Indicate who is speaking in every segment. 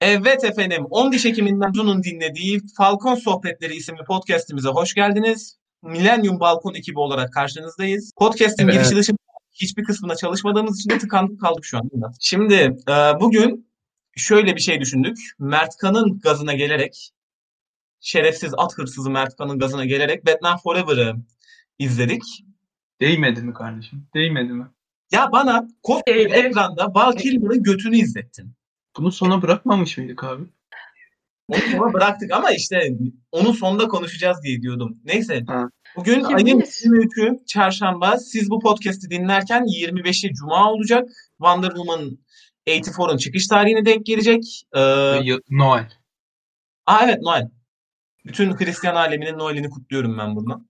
Speaker 1: Evet efendim, 10 diş hekiminden Zun'un dinlediği Falcon Sohbetleri isimli podcast'imize hoş geldiniz. Millennium Balkon ekibi olarak karşınızdayız. Podcast'in
Speaker 2: Evet.
Speaker 1: girişi dışında hiçbir kısmında çalışmadığımız için de tıkandık kaldık şu an. Şimdi e, bugün şöyle bir şey düşündük. Mertkan'ın gazına gelerek, şerefsiz at hırsızı Mertkan'ın gazına gelerek Batman Forever'ı izledik.
Speaker 2: Değmedi mi kardeşim? Değmedi mi?
Speaker 1: Ya bana koskoca
Speaker 3: Evet.
Speaker 1: ekranda Val Kilmer'ın götünü izlettin.
Speaker 2: Bunu sona bırakmamış mıydık abi?
Speaker 1: Onu sonra bıraktık ama işte onu sonda konuşacağız diye diyordum. Neyse.
Speaker 2: Ha.
Speaker 1: Bugün
Speaker 3: Kim
Speaker 1: ayın
Speaker 3: bilir?
Speaker 1: 23'ü çarşamba. Siz bu podcast'i dinlerken 25'i cuma olacak. Wonder Woman 84'ın çıkış tarihine denk gelecek. Ee,
Speaker 2: Ya- Noel.
Speaker 1: aa evet Noel. Bütün Hristiyan aleminin Noel'ini kutluyorum ben buradan.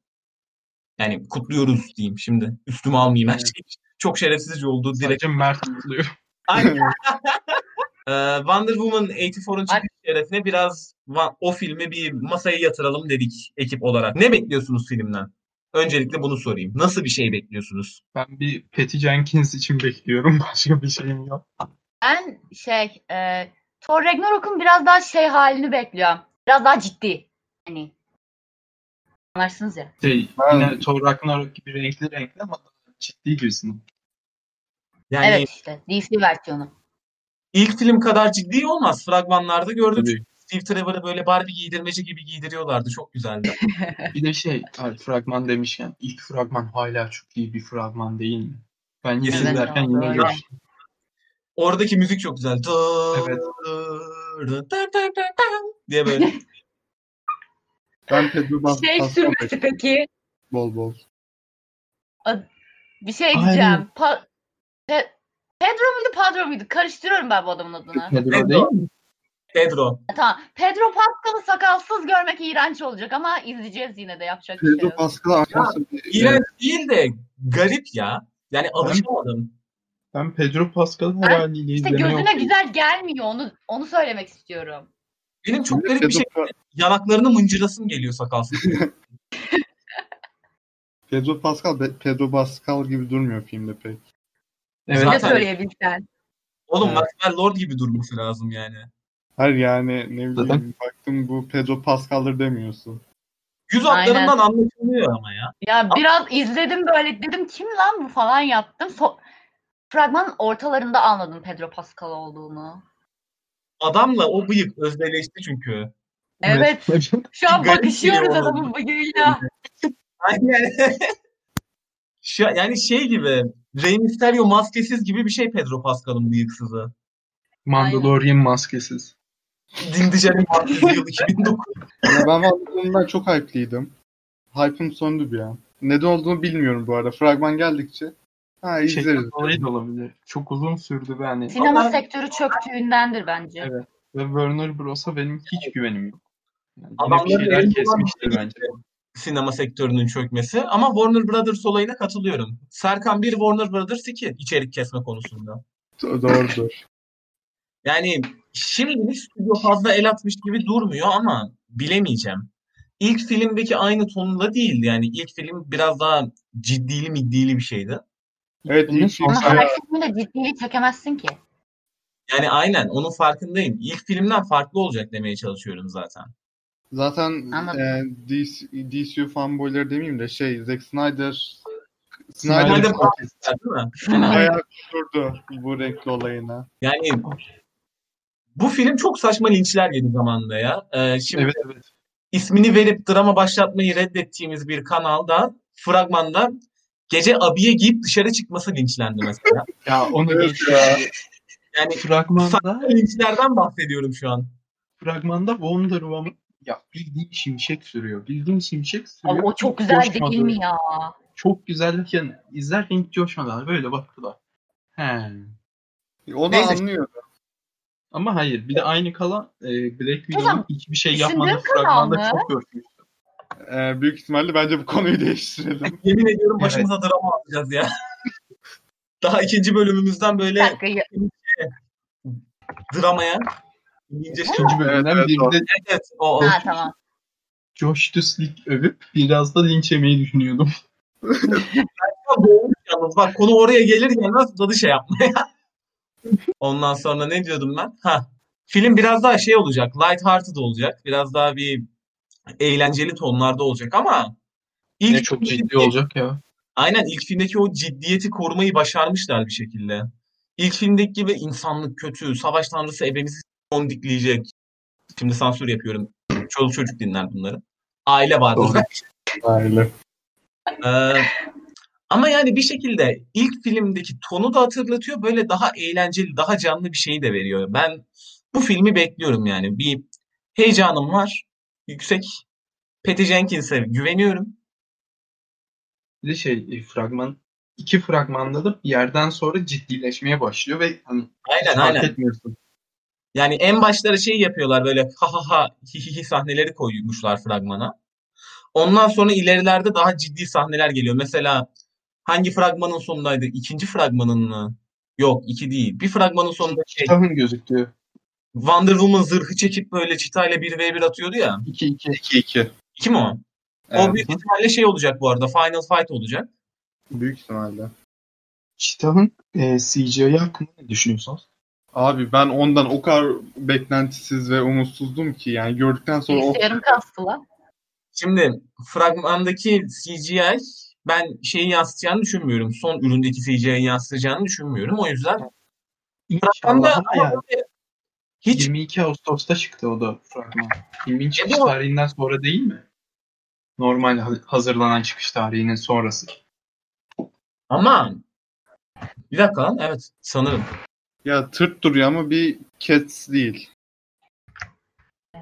Speaker 1: Yani kutluyoruz diyeyim şimdi. Üstüme almayayım her
Speaker 2: Evet.
Speaker 1: şeyi. Çok şerefsizce oldu direkt.
Speaker 2: Sadece Mert kutluyor.
Speaker 1: Aynen. Ee, Wonder Woman 84'ün
Speaker 3: Ay-
Speaker 1: çıkış şerefine biraz va- o filmi bir masaya yatıralım dedik ekip olarak. Ne bekliyorsunuz filmden? Öncelikle bunu sorayım. Nasıl bir şey bekliyorsunuz?
Speaker 2: Ben bir Patty Jenkins için bekliyorum. Başka bir şeyim yok.
Speaker 3: Ben şey e, Thor Ragnarok'un biraz daha şey halini bekliyorum. Biraz daha ciddi. Hani anlarsınız ya.
Speaker 2: Şey,
Speaker 4: Ben-
Speaker 2: yine Thor Ragnarok gibi renkli renkli ama daha ciddi gibisin.
Speaker 1: Yani
Speaker 3: Evet işte DC versiyonu.
Speaker 1: ilk film kadar ciddi olmaz. Fragmanlarda gördüm.
Speaker 2: Tabii.
Speaker 1: Steve Trevor'ı böyle Barbie giydirmeci gibi giydiriyorlardı. Çok güzeldi.
Speaker 2: Bir de şey, abi, fragman demişken ilk fragman hala çok iyi bir fragman değil mi? Ben yine
Speaker 1: Evet,
Speaker 2: izlerken
Speaker 3: abi,
Speaker 2: yine
Speaker 3: öyle.
Speaker 2: görüştüm.
Speaker 1: Oradaki müzik çok güzel.
Speaker 2: Evet.
Speaker 1: diye böyle.
Speaker 4: Ben Pedro Bas
Speaker 3: Şey
Speaker 4: Pascal
Speaker 3: sürmesi
Speaker 4: bekliyorum,
Speaker 3: peki.
Speaker 4: bol bol.
Speaker 3: Bir şey
Speaker 2: Aynen.
Speaker 3: diyeceğim. Pa- Pe- Pedro muydu Pedro muydu? Karıştırıyorum ben bu adamın adını.
Speaker 2: Pedro
Speaker 1: Pedro.
Speaker 2: değil mi?
Speaker 1: Pedro.
Speaker 3: tamam. Pedro Pascal'ı sakalsız görmek iğrenç olacak ama izleyeceğiz yine de yapacak bir şey
Speaker 4: Pedro
Speaker 3: yok.
Speaker 4: Pascal'a arkadaşlar e,
Speaker 1: İğrenç değil de garip ya. Yani alışamadım.
Speaker 2: Ben Pedro Pascal'ın her haliyle
Speaker 3: İşte
Speaker 2: izleme
Speaker 3: gözüne
Speaker 2: yok.
Speaker 3: güzel gelmiyor onu onu söylemek istiyorum.
Speaker 1: Benim çok
Speaker 4: Pedro
Speaker 1: garip bir şey.
Speaker 4: Pa-
Speaker 1: Yanaklarını mıncırasım geliyor sakalsız.
Speaker 4: Pedro Pascal Be- Pedro Pascal gibi durmuyor filmde pek.
Speaker 2: Evet,
Speaker 3: Ne
Speaker 1: Zaten-
Speaker 3: söyleyebilsen.
Speaker 1: Oğlum
Speaker 4: Evet.
Speaker 1: Maxwell Lord gibi durması lazım yani.
Speaker 4: Hayır yani ne
Speaker 2: Zaten-
Speaker 4: bileyim baktım bu Pedro Pascal'dır demiyorsun.
Speaker 1: Yüz
Speaker 3: Aynen.
Speaker 1: hatlarından anlaşılıyor ama ya.
Speaker 3: Ya biraz izledim böyle dedim kim lan bu falan yaptım. So- Fragmanın ortalarında anladım Pedro Pascal olduğunu.
Speaker 1: Adamla o bıyık özdeşleşti çünkü.
Speaker 3: Evet. Şu an
Speaker 1: Garip
Speaker 3: bakışıyoruz
Speaker 1: biri
Speaker 3: adamın bıyığıyla.
Speaker 1: Aynen. Şu- yani şey gibi Rey Mysterio maskesiz gibi bir şey Pedro Pascal'ın bıyıksızı.
Speaker 2: Mandalorian maskesiz.
Speaker 1: Dindicenin maskesi yıl 2009.
Speaker 4: Ya ben Wonder çok hype'liydim. Hype'ım söndü bir an. Neden olduğunu bilmiyorum bu arada. Fragman geldikçe ha izleriz.
Speaker 2: Şeyden dolayı da olabilir. Çok uzun sürdü ve hani
Speaker 3: Sinema
Speaker 1: Ama-
Speaker 3: sektörü çöktüğündendir bence.
Speaker 2: Evet. ve Werner Bros'a benim hiç güvenim yok. Yani yine
Speaker 1: Adamların
Speaker 2: bir şeyler
Speaker 1: elinde
Speaker 2: kesmiştir
Speaker 1: olan-
Speaker 2: bence.
Speaker 1: Sinema sektörünün çökmesi. Ama Warner Brothers olayına katılıyorum. Serkan 1, Warner Brothers 2 içerik kesme konusunda.
Speaker 4: Do- Doğrudur.
Speaker 1: Yani şimdilik stüdyo fazla el atmış gibi durmuyor ama bilemeyeceğim. İlk filmdeki aynı tonla değildi. Yani ilk film biraz daha ciddili middili bir şeydi.
Speaker 4: Evet
Speaker 2: Bunun
Speaker 4: ilk film
Speaker 2: sonrası-
Speaker 3: Ama her
Speaker 4: bayağı
Speaker 3: filmde ciddiliği çekemezsin ki.
Speaker 1: Yani aynen onun farkındayım. İlk filmden farklı olacak demeye çalışıyorum zaten.
Speaker 4: Zaten
Speaker 3: Anladım.
Speaker 4: e, DC, DCU fanboyları demeyeyim de şey Zack Snyder
Speaker 2: Snyder
Speaker 4: Snyder
Speaker 1: Cut.
Speaker 4: Cut
Speaker 1: Değil mi?
Speaker 4: bayağı durdu bu renkli olayına.
Speaker 1: Yani bu film çok saçma linçler yedi zamanında ya. Ee, şimdi
Speaker 2: Evet evet.
Speaker 1: ismini verip drama başlatmayı reddettiğimiz bir kanalda fragmanda gece abiye giyip dışarı çıkması linçlendi mesela.
Speaker 2: Ya onu
Speaker 4: Evet
Speaker 2: geç.
Speaker 4: ya.
Speaker 1: Yani
Speaker 2: Fragmanda,
Speaker 1: linçlerden bahsediyorum şu an.
Speaker 2: fragmanda Wonder Woman ya bildiğin şimşek sürüyor. Bildiğin şimşek
Speaker 3: Ama
Speaker 2: sürüyor.
Speaker 3: o çok güzel
Speaker 2: Coşmadı.
Speaker 3: değil mi ya?
Speaker 2: Çok güzelken izlerken hiç coşmadılar. Böyle baktılar. He.
Speaker 4: Onu
Speaker 1: Neyse.
Speaker 4: anlıyorum.
Speaker 2: Ama hayır. Bir de aynı kalan e, Black Widow'un
Speaker 3: Hocam,
Speaker 2: hiçbir şey
Speaker 3: düşündüğüm
Speaker 2: yapmadığı
Speaker 3: kadar
Speaker 2: fragmanda
Speaker 3: mı?
Speaker 2: çok coşmuştu.
Speaker 4: Ee, büyük ihtimalle bence bu konuyu değiştirelim.
Speaker 1: Yemin ediyorum başımıza drama atacağız ya. Daha ikinci bölümümüzden
Speaker 3: Bir
Speaker 1: böyle
Speaker 3: dakika ya.
Speaker 1: dramaya ince şey.
Speaker 2: İkinci bölümden
Speaker 4: Evet, evet,
Speaker 2: birinde
Speaker 1: Evet, o, o.
Speaker 3: Ha tamam.
Speaker 2: Josh Duslik övüp biraz da linç yemeyi düşünüyordum.
Speaker 1: Doğru yalnız. Bak konu oraya gelir gelmez dadı şey yapmaya. Ondan sonra ne diyordum ben? Ha. Film biraz daha şey olacak, lighthearted olacak. Biraz daha bir eğlenceli tonlarda olacak ama ilk şey-
Speaker 2: Yine çok
Speaker 1: filmdeki-
Speaker 2: ciddi olacak ya.
Speaker 1: Aynen ilk filmdeki o ciddiyeti korumayı başarmışlar bir şekilde. İlk filmdeki gibi insanlık kötü, savaş tanrısı ebemizi kondikleyecek. Şimdi sansür yapıyorum. Çoluk çocuk dinler bunları. Aile vardır.
Speaker 2: Doğru.
Speaker 4: Aile.
Speaker 1: Ee, ama yani bir şekilde ilk filmdeki tonu da hatırlatıyor. Böyle daha eğlenceli, daha canlı bir şeyi de veriyor. Ben bu filmi bekliyorum yani. Bir heyecanım var. Yüksek. Patty Jenkins'e güveniyorum.
Speaker 2: Bir de şey e, fragman iki fragmanda da bir yerden sonra ciddileşmeye başlıyor ve hani
Speaker 1: Aynen
Speaker 2: fark
Speaker 1: aynen.
Speaker 2: etmiyorsun.
Speaker 1: Yani en başları şey yapıyorlar böyle ha ha ha hi hi hi sahneleri koymuşlar fragmana. Ondan sonra ilerilerde daha ciddi sahneler geliyor. Mesela hangi fragmanın sonundaydı? İkinci fragmanın mı? Yok iki değil. Bir fragmanın sonunda şey
Speaker 2: Şahın gözüküyor.
Speaker 1: Wonder Woman zırhı çekip böyle çitayla 1v1 atıyordu ya.
Speaker 2: 2-2.
Speaker 4: 2-2.
Speaker 1: Kim o? O
Speaker 4: Evet.
Speaker 1: büyük ihtimalle şey olacak bu arada. Final Fight olacak.
Speaker 4: Büyük ihtimalle.
Speaker 2: Çitah'ın e, CGI hakkında ne düşünüyorsunuz?
Speaker 4: Abi ben ondan o kadar beklentisiz ve umutsuzdum ki yani gördükten sonra o
Speaker 3: Bilgisayarım kastı lan.
Speaker 1: Şimdi fragmandaki CGI ben şeyi yansıtacağını düşünmüyorum. Son üründeki CGI'yi yansıtacağını düşünmüyorum. O yüzden Fragmanda
Speaker 2: İnşallah ama
Speaker 1: ama
Speaker 2: yani.
Speaker 1: böyle hiç
Speaker 2: 22 Ağustos'ta çıktı o da fragman. Filmin çıkış
Speaker 1: E bu-
Speaker 2: tarihinden sonra değil mi? Normal ha- hazırlanan çıkış tarihinin sonrası.
Speaker 1: ama bir dakika lan evet sanırım.
Speaker 4: ya tırt duruyor ama bir Cats değil.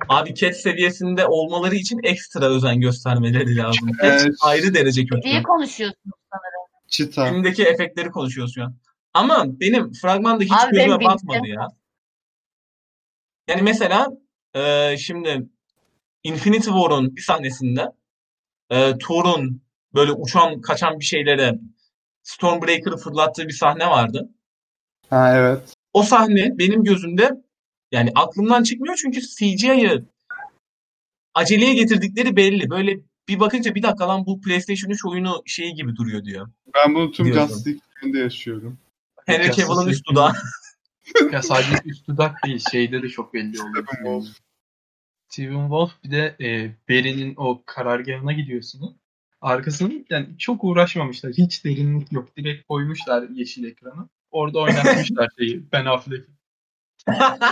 Speaker 1: Abi cat seviyesinde olmaları için ekstra özen göstermeleri lazım. Cat
Speaker 4: Evet.
Speaker 1: ayrı derece kötü.
Speaker 3: Diye konuşuyorsun.
Speaker 4: Çita.
Speaker 1: Filmdeki efektleri konuşuyoruz şu an. Ama benim fragmanda hiç
Speaker 3: Abi benim
Speaker 1: gözüme
Speaker 3: bitti.
Speaker 1: batmadı ya. Yani mesela e, şimdi Infinity War'un bir sahnesinde e, Thor'un böyle uçan kaçan bir şeylere Stormbreaker'ı fırlattığı bir sahne vardı.
Speaker 4: Ha evet.
Speaker 1: O sahne benim gözümde yani aklımdan çıkmıyor çünkü CGI'yı aceleye getirdikleri belli. Böyle bir bakınca bir dakika lan bu PlayStation 3 oyunu şeyi gibi duruyor diyor.
Speaker 4: Ben bunu tüm
Speaker 1: Diyorum.
Speaker 4: Justice League'de yaşıyorum.
Speaker 1: Henry
Speaker 2: Justice
Speaker 1: Cavill'ın üst
Speaker 2: League'in-
Speaker 1: dudağı.
Speaker 2: Ya sadece üst dudak değil şeyde de çok belli oluyor.
Speaker 4: Stephen Wolf.
Speaker 2: Steven Wolf bir de e, Barry'nin o karargahına gidiyorsunuz. Arkasını yani çok uğraşmamışlar. Hiç derinlik yok. Direkt koymuşlar yeşil ekranı. Orada oynatmışlar şeyi. Ben Affleck.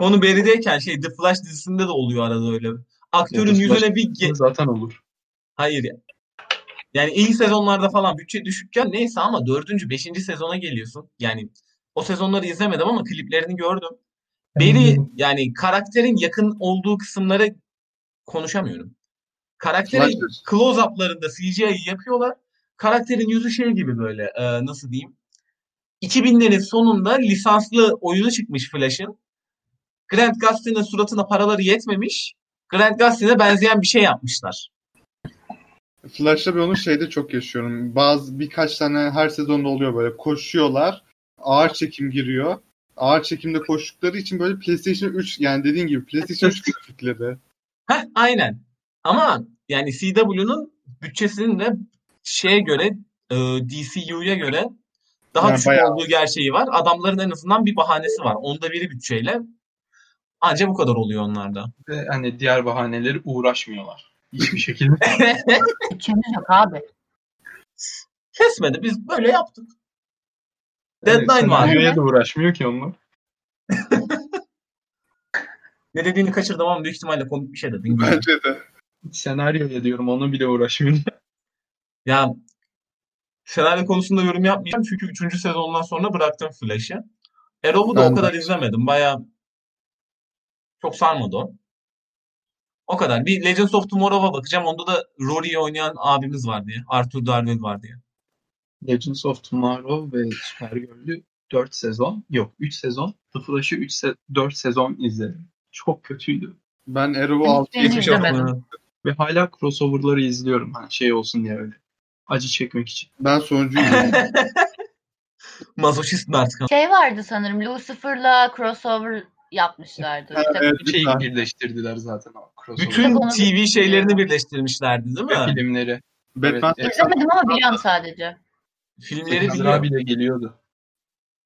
Speaker 1: Onu berideyken şey The Flash dizisinde de oluyor arada öyle. Aktörün
Speaker 2: Ya, The
Speaker 1: yüzüne
Speaker 2: Flash
Speaker 1: bir ge-
Speaker 2: Zaten olur.
Speaker 1: hayır ya. Yani ilk sezonlarda falan bütçe düşükken neyse ama dördüncü, beşinci sezona geliyorsun. Yani o sezonları izlemedim ama kliplerini gördüm. Beri yani karakterin yakın olduğu kısımları konuşamıyorum. Karakterin
Speaker 4: Flash.
Speaker 1: close-up'larında CGI yapıyorlar. Karakterin yüzü şey gibi böyle e, nasıl diyeyim. 2000'lerin sonunda lisanslı oyunu çıkmış Flash'ın. Grant Gustin'in suratına paraları yetmemiş. Grant Gustin'e benzeyen bir şey yapmışlar.
Speaker 4: Flash'ta ben onu şeyde çok yaşıyorum. Bazı birkaç tane her sezonda oluyor böyle. Koşuyorlar. Ağır çekim giriyor. Ağır çekimde koştukları için böyle PlayStation 3 yani dediğin gibi PlayStation 3 grafikleri.
Speaker 1: Heh, aynen. Ama yani CW'nun bütçesinin de şeye göre e, DCU'ya göre daha
Speaker 4: Yani
Speaker 1: düşük
Speaker 4: bayağı.
Speaker 1: olduğu gerçeği var. Adamların en azından bir bahanesi var. Onda biri bütçeyle anca bu kadar oluyor onlarda.
Speaker 2: Ve hani diğer bahaneleri uğraşmıyorlar. Hiçbir şekilde.
Speaker 3: Bütçemiz yok abi.
Speaker 1: Kesmedi. Biz böyle yaptık.
Speaker 2: Yani
Speaker 1: Deadline var.
Speaker 2: senaryoya da uğraşmıyor ki onlar.
Speaker 1: Ne dediğini kaçırdım ama büyük ihtimalle komik bir şey dedin.
Speaker 4: Bence de.
Speaker 2: Senaryoya diyorum onu bile uğraşmıyor.
Speaker 1: Ya senaryo konusunda yorum yapmayacağım çünkü 3. sezondan sonra bıraktım Flash'ı. Arrow'u da
Speaker 4: Ben
Speaker 1: o
Speaker 4: de.
Speaker 1: kadar izlemedim. Baya çok sarmadı o. O kadar. Bir Legends of Tomorrow'a bakacağım. Onda da Rory'i oynayan abimiz var diye. Arthur Darvill var diye.
Speaker 2: Legends of Tomorrow ve Supergirl'ü 4 sezon, yok 3 sezon, The Flash'ı 3 se- 4 sezon izledim. Çok kötüydü.
Speaker 4: Ben
Speaker 3: Ben
Speaker 4: Arrow'u 6
Speaker 3: hiçbirini
Speaker 1: Hiçbir şey
Speaker 3: izlemedim.
Speaker 1: yapmadım.
Speaker 2: Ve hala crossover'ları izliyorum hani şey olsun diye öyle. Acı çekmek için.
Speaker 4: Ben sonuncuyum.
Speaker 1: Mazoşist Mert Kan.
Speaker 3: Şey vardı sanırım Lucifer'la crossover yapmışlardı. İşte
Speaker 4: evet,
Speaker 2: Bir şeyi
Speaker 4: lütfen.
Speaker 2: birleştirdiler zaten o crossover
Speaker 1: Bütün
Speaker 3: Onu
Speaker 1: TV şeylerini
Speaker 3: izliyorum.
Speaker 1: birleştirmişlerdi değil
Speaker 2: ve
Speaker 1: mi?
Speaker 2: filmleri.
Speaker 4: Batman
Speaker 2: Evet,
Speaker 3: izlemedim ama biliyorum sadece.
Speaker 1: Filmleri
Speaker 2: Sekander
Speaker 1: biliyorum.
Speaker 2: abi de geliyordu.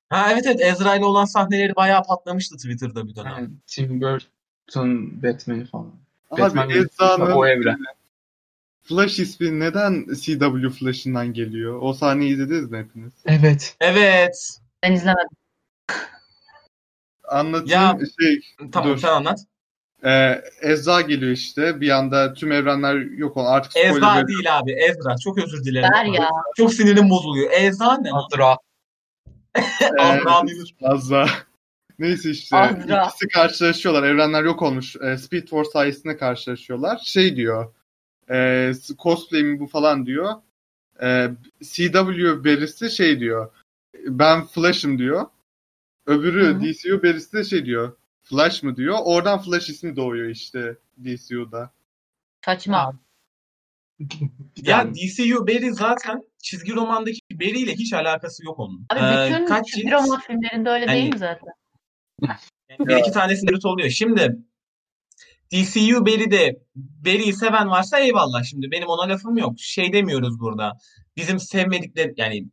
Speaker 1: Ha evet evet Ezra ile olan sahneleri bayağı patlamıştı Twitter'da bir dönem.
Speaker 2: Yani Tim Burton Batman'i falan. Batman
Speaker 4: Abi
Speaker 2: o
Speaker 4: Ezra'nın
Speaker 2: evren.
Speaker 4: Flash ismi neden CW Flash'ından geliyor? O sahneyi izlediniz mi hepiniz?
Speaker 2: Evet.
Speaker 1: Evet.
Speaker 3: Ben izlemedim.
Speaker 4: Anlatayım şey
Speaker 1: Tamam
Speaker 4: Dur.
Speaker 1: sen anlat.
Speaker 4: e, Ezra geliyor işte bir anda tüm evrenler yok olan artık spoiler
Speaker 1: Ezra
Speaker 4: veriyorum.
Speaker 1: değil abi Ezra. Çok özür dilerim.
Speaker 3: Ver ya.
Speaker 1: Çok sinirim bozuluyor. Ezra ne? lan?
Speaker 2: Adı rahat.
Speaker 1: Azra değil.
Speaker 4: Azra. Neyse işte
Speaker 3: Azra.
Speaker 4: ikisi karşılaşıyorlar. Evrenler yok olmuş. E, Speed Force sayesinde karşılaşıyorlar. Şey diyor. E, s- cosplay mi bu falan diyor. E, CW berisi şey diyor. Ben Flash'ım diyor. Öbürü
Speaker 3: Hı.
Speaker 4: DCU berisi de şey diyor. Flash mı diyor. Oradan Flash ismi doğuyor işte DCU'da.
Speaker 3: Saçma.
Speaker 1: Ya
Speaker 2: Yani-
Speaker 1: DCU Barry zaten çizgi romandaki Barry ile hiç alakası yok onun.
Speaker 3: Abi
Speaker 1: Ee,
Speaker 3: bütün
Speaker 1: kaç
Speaker 3: çizgi
Speaker 1: cilt?
Speaker 3: roman filmlerinde öyle
Speaker 1: Yani-
Speaker 3: değil mi zaten?
Speaker 1: Yani bir iki tanesinde kötü oluyor. Şimdi DCU Barry'de Barry'i seven varsa eyvallah. Şimdi benim ona lafım yok. Şey demiyoruz burada. Bizim sevmedikleri yani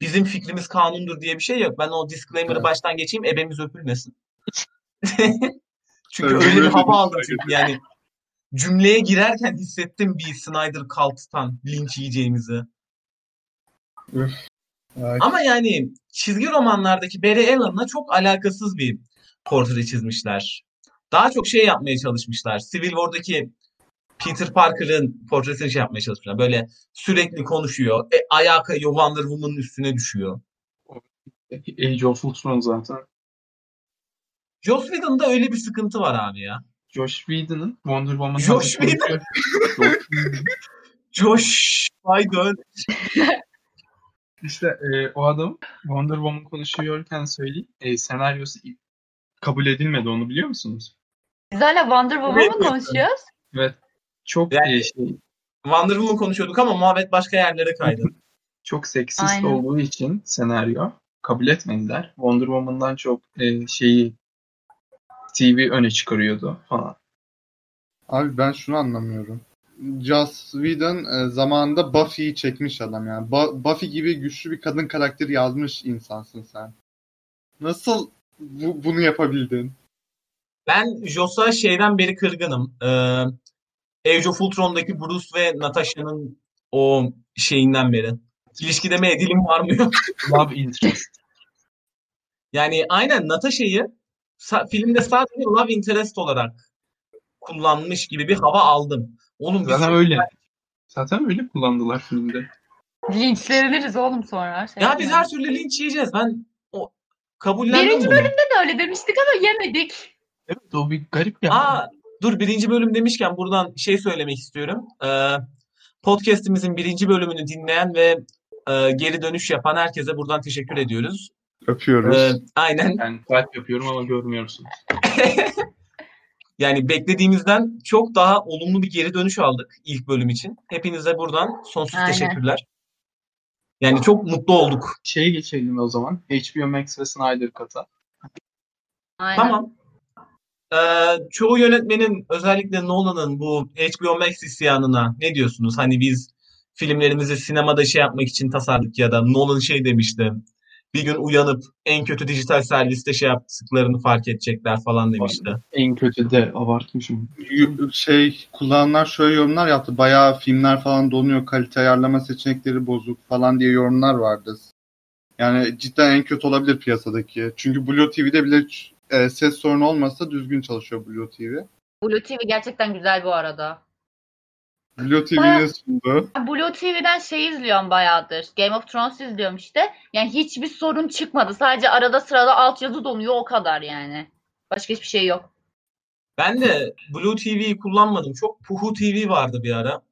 Speaker 1: bizim fikrimiz kanundur diye bir şey yok. Ben o disclaimer'ı
Speaker 4: Evet.
Speaker 1: baştan geçeyim. Ebemiz öpülmesin. Çünkü
Speaker 4: Evet,
Speaker 1: öyle bir
Speaker 4: öyle bir
Speaker 1: hava aldım
Speaker 4: şey.
Speaker 1: çünkü yani cümleye girerken hissettim bir Snyder Cult'tan linç yiyeceğimizi.
Speaker 4: Ay,
Speaker 1: Ama yani çizgi romanlardaki Barry Allen'la çok alakasız bir portre çizmişler. Daha çok şey yapmaya çalışmışlar. Civil War'daki Peter Parker'ın portresini şey yapmaya çalışmışlar. Böyle sürekli konuşuyor. E, ayağa kayıyor Wonder Woman'ın üstüne düşüyor.
Speaker 2: Age of Ultron zaten.
Speaker 1: Joss Whedon'da öyle bir sıkıntı var abi ya.
Speaker 2: Josh Whedon'ın Wonder Woman'dan
Speaker 1: Josh
Speaker 2: bir
Speaker 1: Whedon.
Speaker 2: korkuyor. Josh Whedon.
Speaker 1: Josh Whedon.
Speaker 2: İşte e, o adam Wonder Woman konuşuyorken söyleyeyim. E, senaryosu i- kabul edilmedi onu biliyor musunuz?
Speaker 3: Biz hala Wonder Woman mı
Speaker 1: Bilmiyorum.
Speaker 3: konuşuyoruz?
Speaker 2: Çok e,
Speaker 1: Yani-
Speaker 2: şey,
Speaker 1: Wonder Woman konuşuyorduk ama muhabbet başka yerlere kaydı.
Speaker 2: çok seksist
Speaker 3: Aynen.
Speaker 2: olduğu için senaryo kabul etmediler. Wonder Woman'dan çok e, şeyi TV öne çıkarıyordu falan.
Speaker 4: Abi ben şunu anlamıyorum. Joss Whedon e, zamanında Buffy'yi çekmiş adam yani. Ba- Buffy gibi güçlü bir kadın karakteri yazmış insansın sen. Nasıl bu- bunu yapabildin?
Speaker 1: Ben Joss'a şeyden beri kırgınım. Ee, Age of Ultron'daki Bruce ve Natasha'nın o şeyinden beri. İlişki demeye dilim varmıyor.
Speaker 2: Love interest.
Speaker 1: Yani aynen Natasha'yı sa- filmde sadece love interest olarak kullanmış gibi bir hava aldım. Oğlum biz
Speaker 2: Zaten öyle. Zaten öyle kullandılar filmde.
Speaker 3: Linçleniriz oğlum sonra.
Speaker 1: ya biz
Speaker 3: Şey yapmayalım.
Speaker 1: her türlü linç yiyeceğiz. Ben o kabullendim
Speaker 3: Birinci
Speaker 1: bunu.
Speaker 3: bölümde de öyle demiştik ama yemedik.
Speaker 2: Evet o bir garip yani.
Speaker 1: Aa, dur birinci bölüm demişken buradan şey söylemek istiyorum. Ee, podcast'imizin birinci bölümünü dinleyen ve e, geri dönüş yapan herkese buradan teşekkür ediyoruz.
Speaker 4: Öpüyoruz.
Speaker 1: Ee, aynen.
Speaker 2: Yani kalp yapıyorum ama görmüyorsunuz.
Speaker 1: Yani beklediğimizden çok daha olumlu bir geri dönüş aldık ilk bölüm için. Hepinize buradan sonsuz
Speaker 3: Aynen.
Speaker 1: teşekkürler. Yani çok mutlu olduk.
Speaker 2: Şeye geçelim o zaman. HBO Max ve Snyder Cut'a.
Speaker 3: Aynen.
Speaker 1: Tamam. Ee, çoğu yönetmenin özellikle Nolan'ın bu HBO Max isyanına ne diyorsunuz? Hani biz filmlerimizi sinemada şey yapmak için tasarladık ya da Nolan şey demişti. Bir gün uyanıp en kötü dijital serviste şey yaptıklarını fark edecekler falan demişti.
Speaker 2: En kötü de abartmışım.
Speaker 4: Y- Şey kullananlar şöyle yorumlar yaptı. Bayağı filmler falan donuyor. Kalite ayarlama seçenekleri bozuk falan diye yorumlar vardı. Yani cidden en kötü olabilir piyasadaki. Çünkü Blue TV'de bile ç- e, ses sorunu olmasa düzgün çalışıyor Blue TV.
Speaker 3: Blue TV gerçekten güzel bu arada.
Speaker 4: Blue TV'nin sunduğu.
Speaker 3: Ben Blue TV'den şey izliyorum bayağıdır. Game of Thrones izliyorum işte. Yani hiçbir sorun çıkmadı. Sadece arada sırada altyazı donuyor o kadar yani. Başka hiçbir şey yok.
Speaker 1: Ben de Blue TV'yi kullanmadım. Çok Puhu TV vardı bir ara.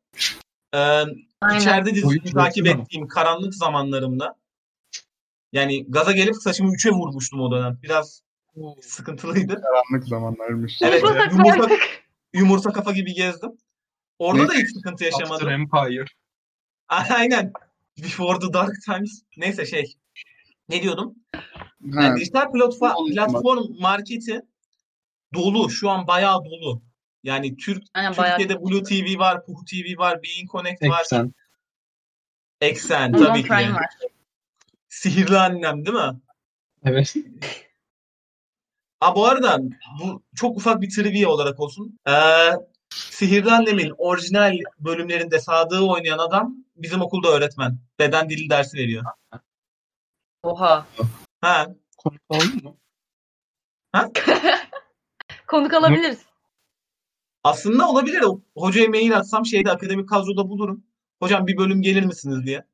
Speaker 1: Ee,
Speaker 3: Aynen.
Speaker 1: İçeride dizisini
Speaker 2: Oyun
Speaker 1: takip
Speaker 2: yoktu ama.
Speaker 1: ettiğim karanlık zamanlarımda yani gaza gelip saçımı üçe vurmuştum o dönem. Biraz sıkıntılıydı.
Speaker 4: Karanlık zamanlarmış.
Speaker 1: Evet,
Speaker 3: Biz o
Speaker 1: evet.
Speaker 3: takımı
Speaker 1: Yumurta-
Speaker 3: yaptık.
Speaker 1: Yumurta kafa gibi gezdim. Orada da hiç sıkıntı
Speaker 2: After
Speaker 1: yaşamadım.
Speaker 2: Empire.
Speaker 1: Aynen. Before the Dark Times. Neyse şey. Ne diyordum? Yani
Speaker 4: Ha,
Speaker 1: dijital platform,
Speaker 4: Olmadı.
Speaker 1: platform marketi dolu. Şu an bayağı dolu. Yani Türk
Speaker 3: Aynen bayağı.
Speaker 1: Türkiye'de Blue TV var, Puhu TV var, Bein Connect var,
Speaker 2: Eksen.
Speaker 1: Eksen
Speaker 3: Amazon
Speaker 1: tabii ki.
Speaker 3: Prime var.
Speaker 1: Sihirli Annem değil mi?
Speaker 2: Evet.
Speaker 1: Ha bu arada bu çok ufak bir trivia olarak olsun. Ee, Sihirli Annem'in orijinal bölümlerinde Sadık'ı oynayan adam bizim okulda öğretmen. Beden dili dersi veriyor.
Speaker 3: Oha.
Speaker 1: Ha,
Speaker 2: Konuk oldun mu?
Speaker 3: Konuk alabiliriz.
Speaker 1: aslında olabilir. O- Hocaya mail atsam şeyde akademik kadroda bulurum. Hocam bir bölüm gelir misiniz diye.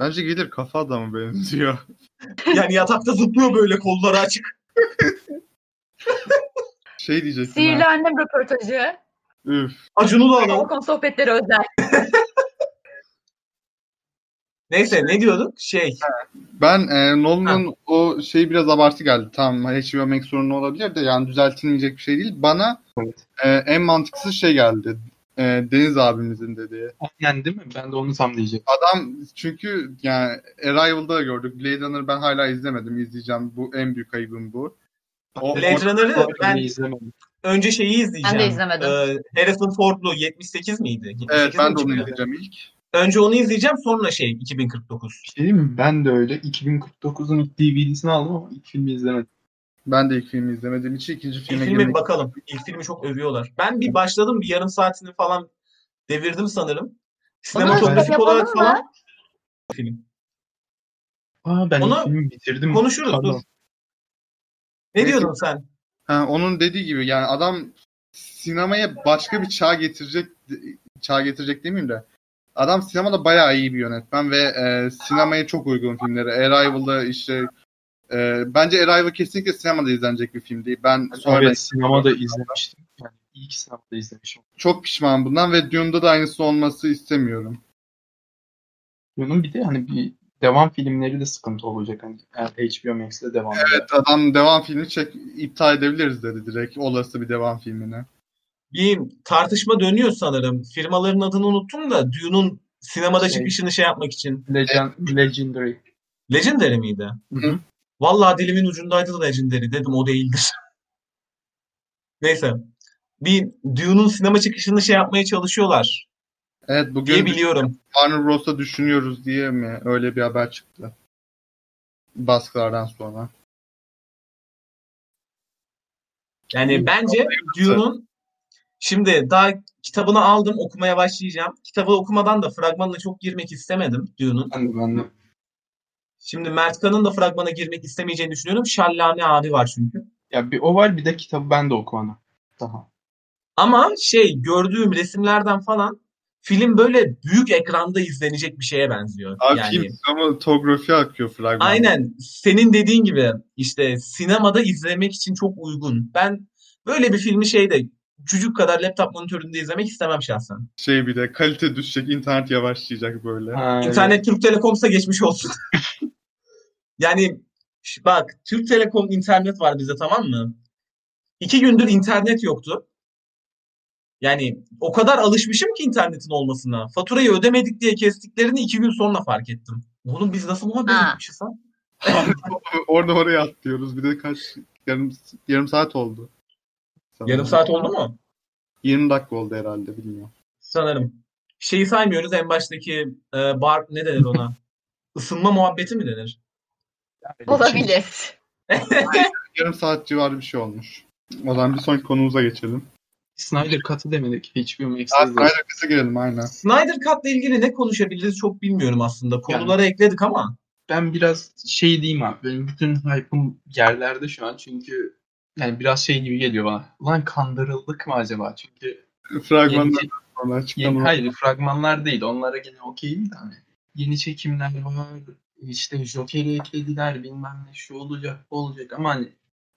Speaker 4: Bence gelir kafa adamı benziyor.
Speaker 1: Yani yatakta zıplıyor böyle kolları açık.
Speaker 4: Şey diyecektim.
Speaker 3: Sihirli
Speaker 4: ha.
Speaker 3: annem röportajı.
Speaker 4: Üf.
Speaker 1: Acun'u da alalım.
Speaker 3: Balkon sohbetleri özel.
Speaker 1: Neyse ne diyorduk? Şey.
Speaker 4: Ben e, Nolan'ın o şeyi biraz abartı geldi. Tamam HBO Max sorunu olabilir de yani düzeltilmeyecek bir şey değil. Bana
Speaker 2: Evet.
Speaker 4: e, en mantıksız şey geldi. E, Deniz abimizin dediği.
Speaker 2: Aynen değil mi? Ben de onu tam diyeceğim.
Speaker 4: Adam çünkü yani Arrival'da da gördük. Blade Runner ben hala izlemedim. İzleyeceğim. Bu en büyük ayıbım bu. O-
Speaker 1: Blade
Speaker 4: o-
Speaker 1: Runner'ı
Speaker 2: Orada
Speaker 1: ben
Speaker 2: izlemedim.
Speaker 1: önce şeyi izleyeceğim.
Speaker 3: Ben de izlemedim.
Speaker 1: Ee, Harrison Ford'lu 78 miydi? 78
Speaker 4: Evet ben
Speaker 1: mi
Speaker 4: de onu
Speaker 1: çıktı?
Speaker 4: izleyeceğim ilk.
Speaker 1: Önce onu izleyeceğim sonra şey 2049.
Speaker 2: Bir şey diyeyim mi? Ben de öyle. 2049'un ilk DVD'sini aldım ama ilk filmi izlemedim.
Speaker 4: Ben de ilk filmi izlemediğim için ikinci
Speaker 1: İlk
Speaker 4: filme
Speaker 1: filme bir
Speaker 4: girmek
Speaker 1: bakalım. İlk filmi çok övüyorlar. Ben bir başladım bir yarım saatini falan devirdim sanırım. Sinematografik
Speaker 3: yapalım
Speaker 1: olarak
Speaker 3: mı?
Speaker 1: falan film.
Speaker 2: Aa ben
Speaker 1: Onu
Speaker 2: ilk filmi bitirdim.
Speaker 1: konuşuruz,
Speaker 2: Pardon.
Speaker 1: dur. Ne diyordun sen?
Speaker 4: Ha, onun dediği gibi yani adam sinemaya başka bir çağ getirecek çağ getirecek demeyeyim de adam sinemada bayağı iyi bir yönetmen ve e, sinemaya çok uygun filmleri. Arrival'da işte e, bence Arrival kesinlikle sinemada izlenecek bir film değil. Ben sonradan
Speaker 2: Evet sinemada izlemiştim. Yani iyi ki sinemada izlemişim.
Speaker 4: çok pişman bundan ve Dune'da da aynısı olması istemiyorum.
Speaker 2: Bunun bir de hani bir devam filmleri de sıkıntı olacak. Hani yani HBO Max'te devam ediyor.
Speaker 4: Evet adam devam filmi çek iptal edebiliriz dedi direkt olası bir devam filmine.
Speaker 1: Bir tartışma dönüyor sanırım. Firmaların adını unuttum da Dune'un sinemada
Speaker 2: Şey.
Speaker 1: çıkışını şey yapmak için.
Speaker 2: Legend, Legendary.
Speaker 1: Legendary miydi?
Speaker 2: Hı-hı.
Speaker 1: Vallahi dilimin ucundaydı Legendary dedim o değildir. Neyse. Bir Dune'un sinema çıkışını şey yapmaya çalışıyorlar
Speaker 4: Evet
Speaker 1: diye
Speaker 4: bugün
Speaker 1: biliyorum.
Speaker 4: Warner Bros'ta düşünüyoruz diye mi öyle bir haber çıktı? Baskılardan sonra.
Speaker 1: Yani bence Dune'un şimdi daha kitabını aldım okumaya başlayacağım. Kitabı okumadan da fragmanına çok girmek istemedim Dune'un.
Speaker 2: Ben de, ben de.
Speaker 1: Şimdi Mertkan'ın da fragmana girmek istemeyeceğini düşünüyorum. Şallane abi var çünkü.
Speaker 2: Ya bir o var bir de kitabı ben de okumadım. Daha.
Speaker 1: Ama şey gördüğüm resimlerden falan film böyle büyük ekranda izlenecek bir şeye benziyor.
Speaker 4: Akayım sinematografi akıyor fragman.
Speaker 1: Aynen senin dediğin gibi işte sinemada izlemek için çok uygun. Ben böyle bir filmi şeyde çocuk kadar laptop monitöründe izlemek istemem şahsen.
Speaker 4: Şey bir de kalite düşecek, internet yavaşlayacak böyle.
Speaker 2: Ha,
Speaker 1: İnternet Türk Telekom'sa geçmiş olsun. yani ş- bak Türk Telekom internet var bizde tamam mı? İki gündür internet yoktu. Yani o kadar alışmışım ki internetin olmasına. Faturayı ödemedik diye kestiklerini iki gün sonra fark ettim. Oğlum biz nasıl muhabbet
Speaker 3: Ha.
Speaker 1: etmişiz ha?
Speaker 4: Orada oraya atlıyoruz. Bir de kaç yarım yarım saat oldu. Sanırım.
Speaker 1: Yarım saat oldu mu?
Speaker 4: 20 dakika oldu herhalde bilmiyorum.
Speaker 1: Sanırım. Şeyi saymıyoruz en baştaki e, bar ne denir ona? Isınma muhabbeti mi denir?
Speaker 2: öyle.
Speaker 3: Olabilir.
Speaker 4: Yarım saat civarı bir şey olmuş. O zaman bir sonraki konumuza geçelim.
Speaker 2: Snyder katı demedik. HBO Max'te
Speaker 4: Saat
Speaker 2: izledik.
Speaker 4: kaydakası girelim aynen.
Speaker 1: Snyder Cut'la ilgili ne konuşabiliriz çok bilmiyorum aslında. Konulara ekledik ama.
Speaker 2: Ben biraz şey diyeyim abi. Benim bütün hype'ım yerlerde şu an. Çünkü yani biraz şey gibi geliyor bana. Lan kandırıldık mı acaba? Çünkü yeni,
Speaker 4: Fragmandan sonra
Speaker 2: yeni,
Speaker 4: açıklama.
Speaker 2: hayır fragmanlar değil. Onlara gene okeyim de hani. Yeni çekimler var. İşte Joker'i eklediler. Bilmem ne şu olacak bu olacak. Ama hani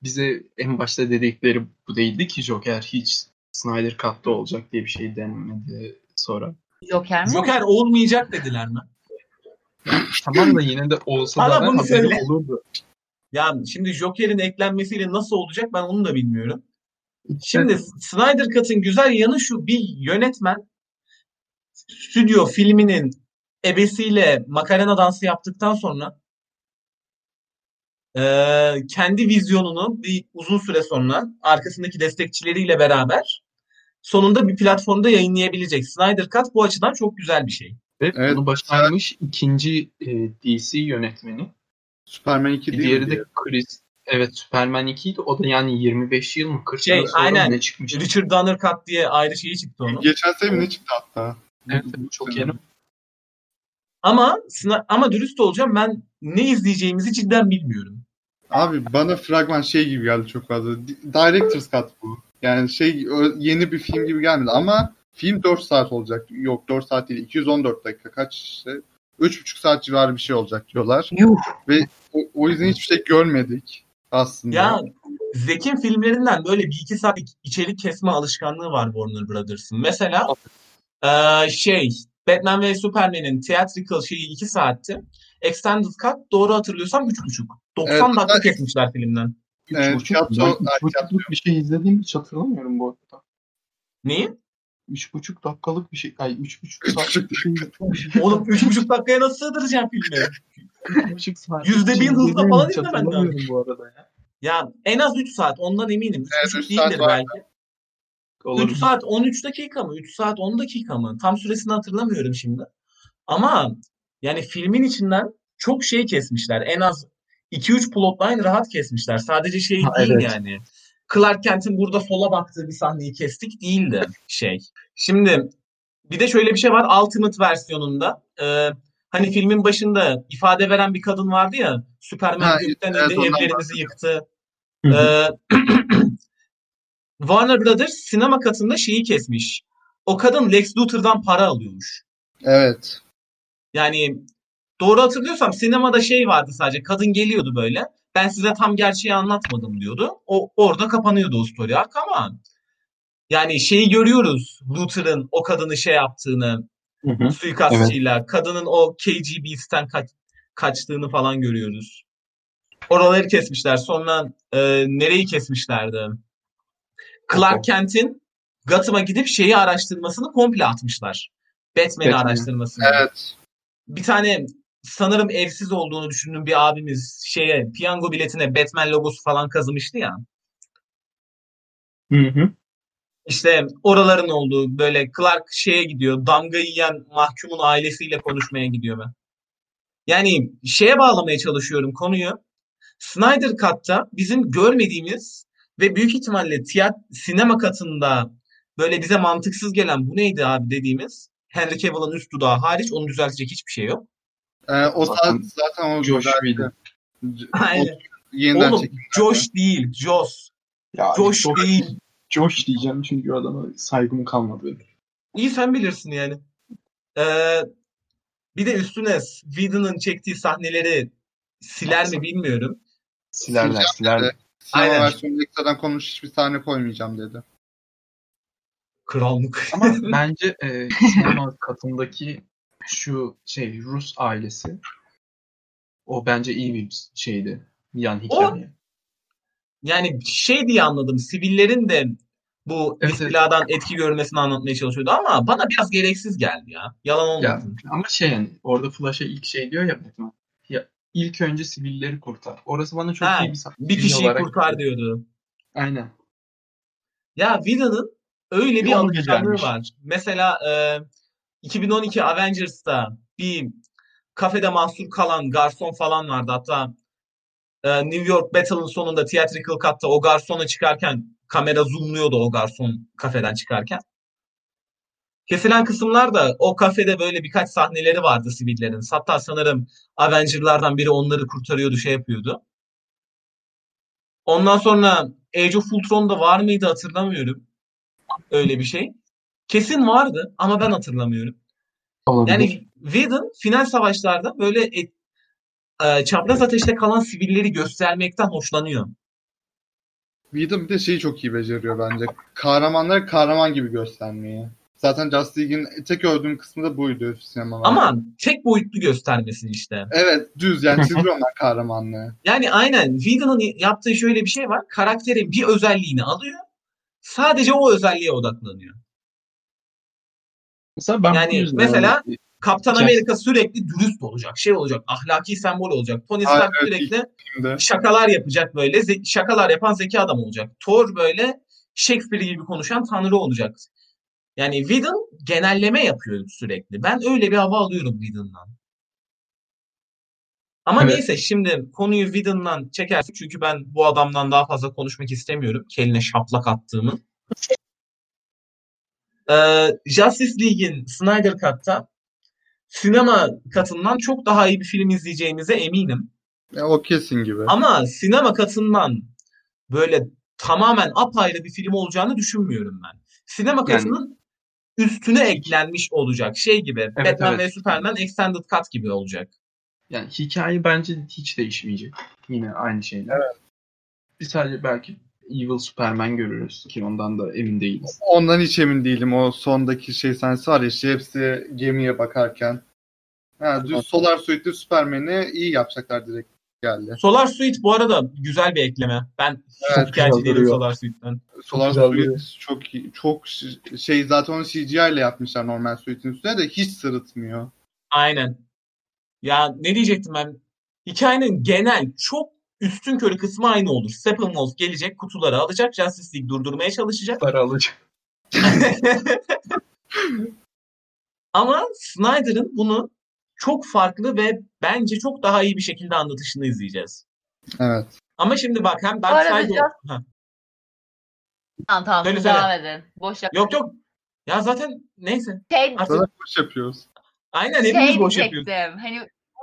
Speaker 2: bize en başta dedikleri bu değildi ki Joker hiç Snyder Cut'ta olacak diye bir şey denmedi sonra.
Speaker 3: Joker mi?
Speaker 1: Joker olmayacak dediler mi?
Speaker 2: Tamam da yine de olsa
Speaker 1: Bana
Speaker 2: da
Speaker 1: bunu
Speaker 2: haberi
Speaker 1: söyle.
Speaker 2: olurdu.
Speaker 1: Ya şimdi Joker'in eklenmesiyle nasıl olacak ben onu da bilmiyorum. Şimdi Snyder Cut'ın güzel yanı şu bir yönetmen stüdyo filminin ebesiyle Macarena dansı yaptıktan sonra eee, kendi vizyonunu bir uzun süre sonra arkasındaki destekçileriyle beraber sonunda bir platformda yayınlayabilecek. Snyder Cut bu açıdan çok güzel bir şey.
Speaker 2: Ve
Speaker 4: Evet.
Speaker 2: bunu başarmış ikinci e, DC yönetmeni.
Speaker 4: Superman 2
Speaker 2: Bir
Speaker 4: değil
Speaker 2: diğeri de
Speaker 4: mi diye.
Speaker 2: Chris. Evet Superman 2 idi. O da yani 25 yıl mı 40
Speaker 1: Şey,
Speaker 2: yıl sonra
Speaker 1: aynen.
Speaker 2: mı ne çıkmış?
Speaker 1: Richard Donner Cut diye ayrı şeyi çıktı onun.
Speaker 4: Geçen sene mi ne çıktı hatta?
Speaker 2: Evet, çok yeni.
Speaker 1: Ama sına- ama dürüst olacağım ben ne izleyeceğimizi cidden bilmiyorum.
Speaker 4: Abi bana fragman şey gibi geldi çok fazla. Di- Director's Cut bu. Yani şey ö- yeni bir film gibi gelmedi ama film 4 saat olacak. Yok 4 saat değil 214 dakika kaç işte. 3,5 saat civarı bir şey olacak diyorlar.
Speaker 1: Yuh.
Speaker 4: Ve o, o yüzden hiçbir şey görmedik aslında.
Speaker 1: Ya Zekin filmlerinden böyle bir iki saat içerik kesme alışkanlığı var Warner Brothers'ın. Mesela eee, şey Batman ve Superman'in theatrical şeyi iki saatti. Extended Cut doğru hatırlıyorsam üç buçuk. 90
Speaker 4: Evet,
Speaker 1: dakika
Speaker 4: hatta-
Speaker 1: kesmişler filmden.
Speaker 2: Üç
Speaker 4: Evet,
Speaker 2: buçuk,
Speaker 4: tiyatro-
Speaker 2: ben
Speaker 4: ay,
Speaker 2: üç buçukluk bir şey izlediğimi hiç hatırlamıyorum bu arada.
Speaker 1: Neyi?
Speaker 2: 3,5 dakikalık bir şey. Ay 3,5 saatlik bir şey.
Speaker 1: Oğlum üç buçuk dakikaya nasıl sığdıracağım filmi?
Speaker 2: 3,5 saatlik
Speaker 1: Yüzde
Speaker 2: bir şey
Speaker 1: bin hızla
Speaker 2: izlediğimi
Speaker 1: falan
Speaker 2: hiç
Speaker 1: izlemen lazım.
Speaker 2: hatırlamıyorum bu arada ya.
Speaker 1: Ya en az 3 saat ondan eminim. 3
Speaker 4: Evet, üç
Speaker 1: buçuk
Speaker 4: saat
Speaker 1: değildir
Speaker 4: var.
Speaker 1: belki.
Speaker 2: Olur.
Speaker 1: 3 saat 13 dakika mı? 3 saat 10 dakika mı? Tam süresini hatırlamıyorum şimdi. Ama yani filmin içinden çok şey kesmişler. En az 2-3 plotline rahat kesmişler. Sadece şey
Speaker 2: Ha,
Speaker 1: değil
Speaker 2: evet.
Speaker 1: yani. Clark Kent'in burada sola baktığı bir sahneyi kestik değildi şey. Şimdi bir de şöyle bir şey var Ultimate versiyonunda. Ee, hani filmin başında ifade veren bir kadın vardı ya.
Speaker 4: Ha,
Speaker 1: Superman gökten
Speaker 4: evet,
Speaker 1: indi,
Speaker 4: ondan
Speaker 1: evlerimizi yıktı.
Speaker 2: Hı hı.
Speaker 1: Ee, Warner Brothers sinema katında şeyi kesmiş. O kadın Lex Luthor'dan para alıyormuş.
Speaker 4: Evet.
Speaker 1: Yani doğru hatırlıyorsam sinemada şey vardı sadece. Kadın geliyordu böyle. Ben size tam gerçeği anlatmadım diyordu. O orada kapanıyordu o story arc ama yani şeyi görüyoruz. Luthor'ın o kadını şey yaptığını,
Speaker 2: Hı hı.
Speaker 1: suikastçıyla, kadının o KGB'sten kaç, kaçtığını falan görüyoruz. Oraları kesmişler. Sonra e, nereyi kesmişlerdi? Clark Kent'in Gotham'a gidip şeyi araştırmasını komple atmışlar. Batman'i
Speaker 2: Batman'i.
Speaker 1: araştırmasını.
Speaker 4: Evet.
Speaker 1: Bir tane sanırım evsiz olduğunu düşündüğüm bir abimiz şeye piyango biletine Batman logosu falan kazımıştı ya.
Speaker 2: Hı hı.
Speaker 1: İşte oraların olduğu böyle Clark şeye gidiyor. Damga yiyen mahkumun ailesiyle konuşmaya gidiyor ben. Yani şeye bağlamaya çalışıyorum konuyu. Snyder Cut'ta bizim görmediğimiz ve büyük ihtimalle tiyat sinema katında böyle bize mantıksız gelen bu neydi abi dediğimiz Henry Cavill'ın üst dudağı hariç onu düzeltecek hiçbir şey yok.
Speaker 4: Ee, o saat
Speaker 2: Zaten
Speaker 4: zaten o
Speaker 2: Josh
Speaker 4: zaten-
Speaker 2: miydi?
Speaker 4: C-
Speaker 1: Aynen.
Speaker 4: o- yeniden
Speaker 1: Oğlum
Speaker 4: çekim.
Speaker 1: Josh değil, Joss.
Speaker 2: Ya,
Speaker 1: Josh değil.
Speaker 2: Josh diyeceğim çünkü adama saygım kalmadı benim.
Speaker 1: İyi sen bilirsin yani. Ee, bir de üstüne Whedon'ın çektiği sahneleri siler mi bilmiyorum.
Speaker 2: Silerler silerler.
Speaker 4: Sinema
Speaker 1: Aynen.
Speaker 4: versiyonunda ekstradan konuş hiçbir sahne koymayacağım dedi.
Speaker 1: Krallık.
Speaker 2: Ama bence e, sinema katındaki şu şey Rus ailesi o bence iyi bir şeydi. Yan hikaye.
Speaker 1: Yani şey diye anladım. Sivillerin de bu
Speaker 2: Evet,
Speaker 1: istiladan etki görmesini anlatmaya çalışıyordu ama bana biraz gereksiz geldi ya. Yalan
Speaker 2: Ya,
Speaker 1: olmasın.
Speaker 2: ama şey yani orada Flash'a ilk şey diyor ya Batman. Ya, ilk önce sivilleri kurtar. Orası bana çok
Speaker 1: Ha,
Speaker 2: iyi bir sahne.
Speaker 1: Bir kişiyi
Speaker 2: olarak-
Speaker 1: kurtar diyordu.
Speaker 2: Aynen.
Speaker 1: Ya Whedon'ın öyle bir
Speaker 2: Yolu
Speaker 1: alışkanlığı
Speaker 2: güzelmiş.
Speaker 1: var. Mesela e, 2012 Avengers'ta bir kafede mahsur kalan garson falan vardı. Hatta e, New York Battle'ın sonunda theatrical cut'ta o garsona çıkarken kamera zoomluyordu o garson kafeden çıkarken. Kesilen kısımlar da o kafede böyle birkaç sahneleri vardı sivillerin. Hatta sanırım Avenger'lardan biri onları kurtarıyordu, şey yapıyordu. Ondan sonra Age of Ultron'da var mıydı hatırlamıyorum. Öyle bir şey. Kesin vardı ama ben hatırlamıyorum.
Speaker 2: Olabilir.
Speaker 1: Yani Whedon final savaşlarda böyle et- e, çapraz ateşte kalan sivilleri göstermekten hoşlanıyor.
Speaker 4: Whedon bir de şeyi çok iyi beceriyor bence. Kahramanları kahraman gibi göstermeyi. Zaten Justice League'in tek övdüğüm kısmı da buydu sinemalarda.
Speaker 1: Ama tek boyutlu göstermesi işte.
Speaker 4: Evet düz yani çizgi roman kahramanlığı.
Speaker 1: Yani aynen Whedon'ın yaptığı şöyle bir şey var. Karakterin bir özelliğini alıyor. Sadece o özelliğe odaklanıyor.
Speaker 2: mesela ben
Speaker 1: yani
Speaker 2: bu yüzden hani,
Speaker 1: mesela-
Speaker 2: yani-
Speaker 1: Kaptan
Speaker 2: Kes.
Speaker 1: Amerika sürekli dürüst olacak, şey olacak, ahlaki sembol olacak. Tony
Speaker 4: Aynen,
Speaker 1: Stark
Speaker 4: evet.
Speaker 1: sürekli
Speaker 4: Şimdi
Speaker 1: şakalar yapacak böyle, ze- şakalar yapan zeki adam olacak. Thor böyle Shakespeare gibi konuşan tanrı olacak. Yani Whedon genelleme yapıyor sürekli. Ben öyle bir hava alıyorum Whedon'dan. Ama
Speaker 2: Evet.
Speaker 1: neyse şimdi konuyu Whedon'dan çekersin. Çünkü ben bu adamdan daha fazla konuşmak istemiyorum. Keline şaplak attığımı. Ee, Justice League'in Snyder Cut'ta sinema katından çok daha iyi bir film izleyeceğimize eminim.
Speaker 4: Ya, e, o kesin gibi.
Speaker 1: Ama sinema katından böyle tamamen apayrı bir film olacağını düşünmüyorum ben. Sinema
Speaker 2: Yani-
Speaker 1: katının üstüne eklenmiş olacak. Şey gibi Batman
Speaker 2: evet.
Speaker 1: ve Superman Extended Cut gibi olacak.
Speaker 2: Yani hikaye bence hiç değişmeyecek. Yine aynı şeyler. Evet. Biz sadece belki Evil Superman görürüz ki ondan da emin değiliz.
Speaker 4: Ondan hiç emin değilim. O sondaki şey sahnesi var ya işte hepsi gemiye bakarken. Ha, düz Solar Suite'li Superman'i iyi yapacaklar direkt geldi.
Speaker 1: Solar Suite bu arada güzel bir ekleme. Ben hiç
Speaker 4: Evet,
Speaker 1: şikayetçi değilim
Speaker 2: duruyor.
Speaker 1: Solar Suite'den.
Speaker 4: Solar
Speaker 2: güzel
Speaker 4: Suite
Speaker 2: bir-
Speaker 4: çok iyi- çok ş- şey zaten onu CGI ile yapmışlar normal Suite'in üstüne de hiç sırıtmıyor.
Speaker 1: Aynen. Ya ne diyecektim ben? Hikayenin genel çok üstün körü kısmı aynı olur. Steppenwolf gelecek, kutuları alacak, Justice League durdurmaya çalışacak.
Speaker 2: Para alacak.
Speaker 1: Ama Snyder'ın bunu çok farklı ve bence çok daha iyi bir şekilde anlatışını izleyeceğiz.
Speaker 4: Evet.
Speaker 1: Ama şimdi bak hem
Speaker 3: Bu arada
Speaker 1: Dark Side...
Speaker 3: Justice-
Speaker 1: Ha,
Speaker 3: Tamam tamam
Speaker 1: Söyle,
Speaker 3: siz
Speaker 1: söyle.
Speaker 3: devam edin. Boş yap.
Speaker 1: Yok yok. Ya zaten neyse.
Speaker 3: Şey,
Speaker 1: Artık
Speaker 4: Sonra boş yapıyoruz.
Speaker 1: aynen hepimiz
Speaker 3: şey
Speaker 1: boş yapıyoruz.
Speaker 3: diyecektim. Hani bu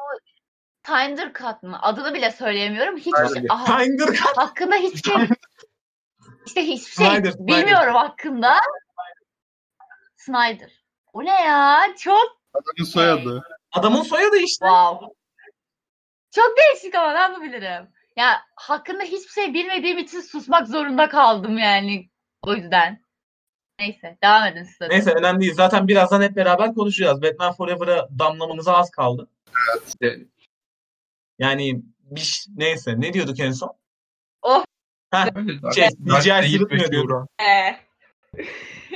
Speaker 3: Tinder Cut mı? Adını bile söyleyemiyorum. Hiç
Speaker 2: Aynen.
Speaker 3: aha,
Speaker 1: Snyder
Speaker 3: hakkında hiçbir şey işte hiçbir şey
Speaker 1: Snyder, Snyder.
Speaker 3: bilmiyorum hakkında. Snyder. O ne ya? Çok
Speaker 4: Adamın soyadı.
Speaker 1: Adamın soyadı işte.
Speaker 3: wow. Çok değişik ama ne yapabilirim? Ya hakkında hiçbir şey bilmediğim için susmak zorunda kaldım yani. O yüzden. Neyse devam edin siz. de.
Speaker 1: Neyse önemli değil. Zaten birazdan hep beraber konuşacağız. Batman Forever'a damlamamıza az kaldı.
Speaker 2: İşte
Speaker 1: Yani bir ş- neyse ne diyorduk en son?
Speaker 2: öyle
Speaker 1: Şey,
Speaker 2: Dark- Dark
Speaker 1: CGI
Speaker 2: Knight
Speaker 1: sırıtmıyor
Speaker 2: ve
Speaker 1: diyor.
Speaker 2: Shura.
Speaker 3: Ee,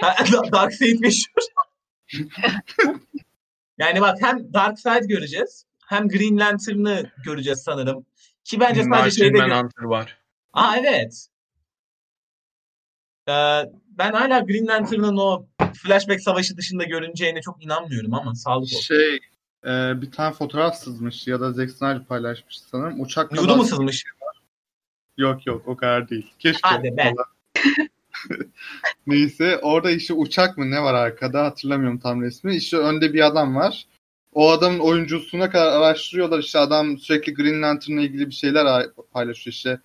Speaker 1: Ha, Darkseid meşhur. yani bak hem Darkseid göreceğiz hem Green Lantern'ı göreceğiz sanırım. Ki bence sadece şeyde...
Speaker 2: Martian Manhunter var.
Speaker 1: Aa evet. Ee, ben hala Green Lantern'ın o flashback savaşı dışında görüneceğine çok inanmıyorum ama sağlık olsun.
Speaker 4: Şey e, bir tane fotoğraf sızmış ya da Zack Snyder paylaşmış sanırım. Uçakla
Speaker 1: Vücudu mu
Speaker 4: bas-
Speaker 1: sızmış?
Speaker 4: Yok yok o kadar değil. Keşke.
Speaker 1: Hadi be.
Speaker 4: Neyse orada işte uçak mı ne var arkada hatırlamıyorum tam resmi. İşte önde bir adam var. O adamın oyuncusuna kadar araştırıyorlar işte adam sürekli Green Lantern'la ilgili bir şeyler a- paylaşıyor işte.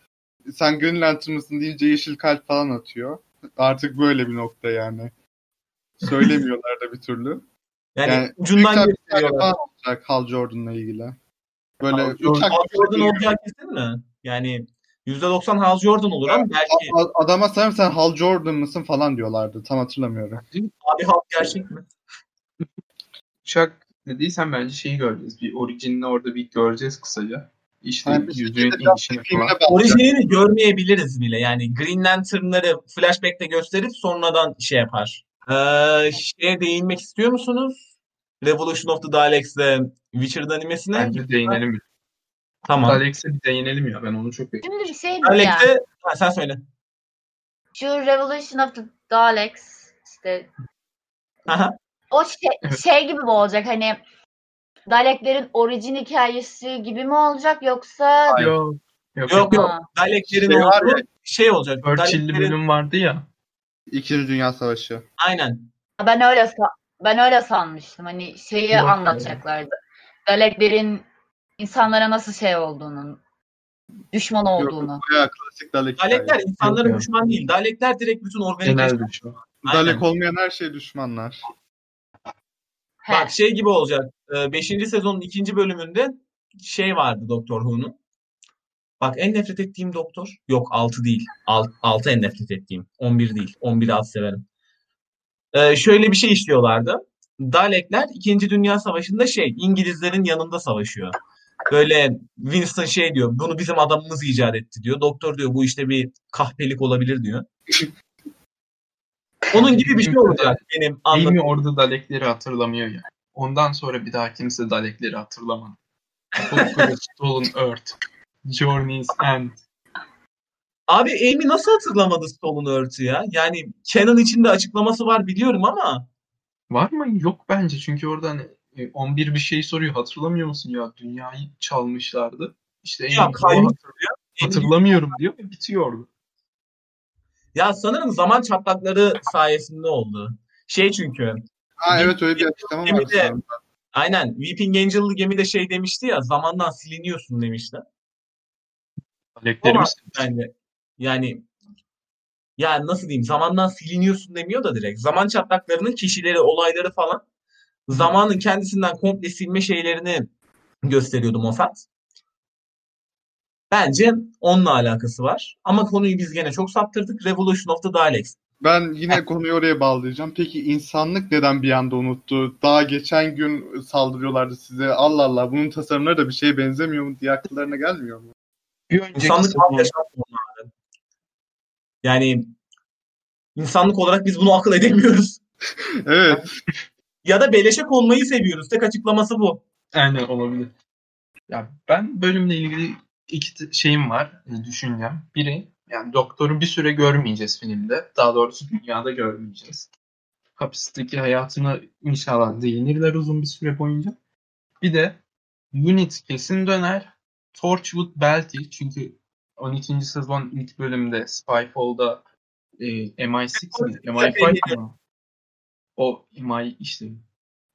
Speaker 4: Sen Green Lantern mısın deyince yeşil kalp falan atıyor. Artık böyle bir nokta yani. Söylemiyorlar da bir türlü.
Speaker 1: Yani,
Speaker 4: Yani
Speaker 1: ucundan
Speaker 4: Büyük bir tane
Speaker 1: gösteriyorlar.
Speaker 4: falan olacak Hal Jordan'la ilgili. Böyle
Speaker 2: Hal
Speaker 4: uçak
Speaker 1: Hal Jordan olacağı kesin mi? Yani %90 Hal Jordan olur ama belki
Speaker 4: A- a- adama sanırım sen Hal Jordan mısın falan diyorlardı. Tam hatırlamıyorum.
Speaker 1: abi Hal gerçek mi?
Speaker 2: Uçak dediysen bence şeyi göreceğiz. Bir orijinini orada bir göreceğiz kısaca. İşte
Speaker 4: Yani biz
Speaker 2: yüzüğün
Speaker 4: biraz
Speaker 2: inişini
Speaker 4: Filmine
Speaker 2: falan.
Speaker 4: bağlı.
Speaker 1: Orijinalini görmeyebiliriz bile. Yani Green Lantern'ları flashback'te gösterip sonradan şey yapar. Ee, şeye değinmek istiyor musunuz? Revolution of the Dalex'le Witcher'ın animesine.
Speaker 2: Bence değinelim.
Speaker 1: Tamam.
Speaker 2: Alex'e bir değinelim ya. Ben onu çok
Speaker 3: Şimdi bir şey diyeceğim.
Speaker 1: Dalex'te ha, sen söyle.
Speaker 3: Şu Revolution of the Daleks işte
Speaker 1: Aha.
Speaker 3: o şey,
Speaker 2: Evet.
Speaker 3: şey gibi mi olacak hani Daleklerin orijin hikayesi gibi mi olacak yoksa
Speaker 4: Hayır.
Speaker 2: Yok. Yok.
Speaker 1: Yok yok.
Speaker 3: Ha,
Speaker 1: Daleklerin
Speaker 4: Şey var
Speaker 1: olduğu şey olacak.
Speaker 2: Churchill'li
Speaker 1: Daleklerin-
Speaker 2: bölüm vardı ya.
Speaker 4: İkinci Dünya Savaşı.
Speaker 1: Aynen.
Speaker 3: ben öyle sa- ben öyle sanmıştım. Hani şeyi
Speaker 2: Yok.
Speaker 3: anlatacaklardı. Daleklerin insanlara nasıl şey olduğunu, düşman olduğunu.
Speaker 4: Yok, bayağı klasik Dalek.
Speaker 1: Dalekler
Speaker 4: Dalekler.
Speaker 1: insanların
Speaker 2: Yok ya.
Speaker 1: düşman değil. Dalekler direkt bütün organik
Speaker 2: Genel bir şey.
Speaker 1: Aynen.
Speaker 4: Dalek olmayan her şey düşmanlar.
Speaker 3: He.
Speaker 1: Bak şey gibi olacak. 5. sezonun 2. bölümünde şey vardı Doktor Who'nun. Bak en nefret ettiğim doktor. Yok 6 değil. 6 en nefret ettiğim. 11 değil. 11'i az severim. Ee, şöyle bir şey işliyorlardı. Dalekler 2. Dünya Savaşı'nda şey İngilizlerin yanında savaşıyor. Böyle Winston şey diyor. Bunu bizim adamımız icat etti diyor. Doktor diyor bu işte bir kahpelik olabilir diyor. Onun gibi bir şey olacak benim anladığım.
Speaker 2: Amy orada Dalekleri hatırlamıyor ya. Ondan sonra bir daha kimse Dalekleri hatırlamadı. Conqueror Stolen Earth. Journey's End.
Speaker 1: Abi Amy nasıl hatırlamadı Stolen Earth'ü ya? Yani Canon içinde açıklaması var biliyorum ama
Speaker 2: Var mı? Yok bence. Çünkü orada hani, e, e, 11 bir şey soruyor. Hatırlamıyor musun ya? Dünyayı çalmışlardı. İşte en
Speaker 1: Ya
Speaker 2: büyük
Speaker 1: kayyum
Speaker 2: olan- hatırlamıyorum diyor ve bitiyordu.
Speaker 1: Ya sanırım zaman çatlakları sayesinde oldu. Şey çünkü
Speaker 4: Ha evet öyle bir açıklama var.
Speaker 1: Gemide-
Speaker 4: sanırım.
Speaker 1: aynen Weeping Angel'lı gemide şey demişti ya zamandan siliniyorsun demişti.
Speaker 2: Aleklerimiz
Speaker 1: Yani, yani ya nasıl diyeyim zamandan siliniyorsun demiyor da direkt. Zaman çatlaklarının kişileri, olayları falan zamanın kendisinden komple silme şeylerini gösteriyordu Moffat. Bence onunla alakası var. Ama konuyu biz gene çok saptırdık. Revolution of the Daleks.
Speaker 4: Ben yine konuyu oraya bağlayacağım. Peki insanlık neden bir anda unuttu? Daha geçen gün saldırıyorlardı size. Allah Allah bunun tasarımları da bir şeye benzemiyor mu diye akıllarına gelmiyor mu?
Speaker 2: bir önceki
Speaker 1: İnsanlık
Speaker 2: sezon-
Speaker 1: yaşam sorunları. Yani insanlık olarak biz bunu akıl edemiyoruz.
Speaker 4: Evet.
Speaker 1: Ya da beleşek olmayı seviyoruz. Tek açıklaması bu.
Speaker 2: Aynen olabilir. Ya ben bölümle ilgili iki t- şeyim var, e, düşüncem. Biri, yani doktoru bir süre görmeyeceğiz filmde. Daha doğrusu dünyada görmeyeceğiz. Hapisteki hayatına inşallah değinirler uzun bir süre boyunca. Bir de Unit kesin döner. Torchwood belki çünkü 12. sezon ilk bölümde Spyfall'da e, MI6 mi? MI5 mi? O MI işte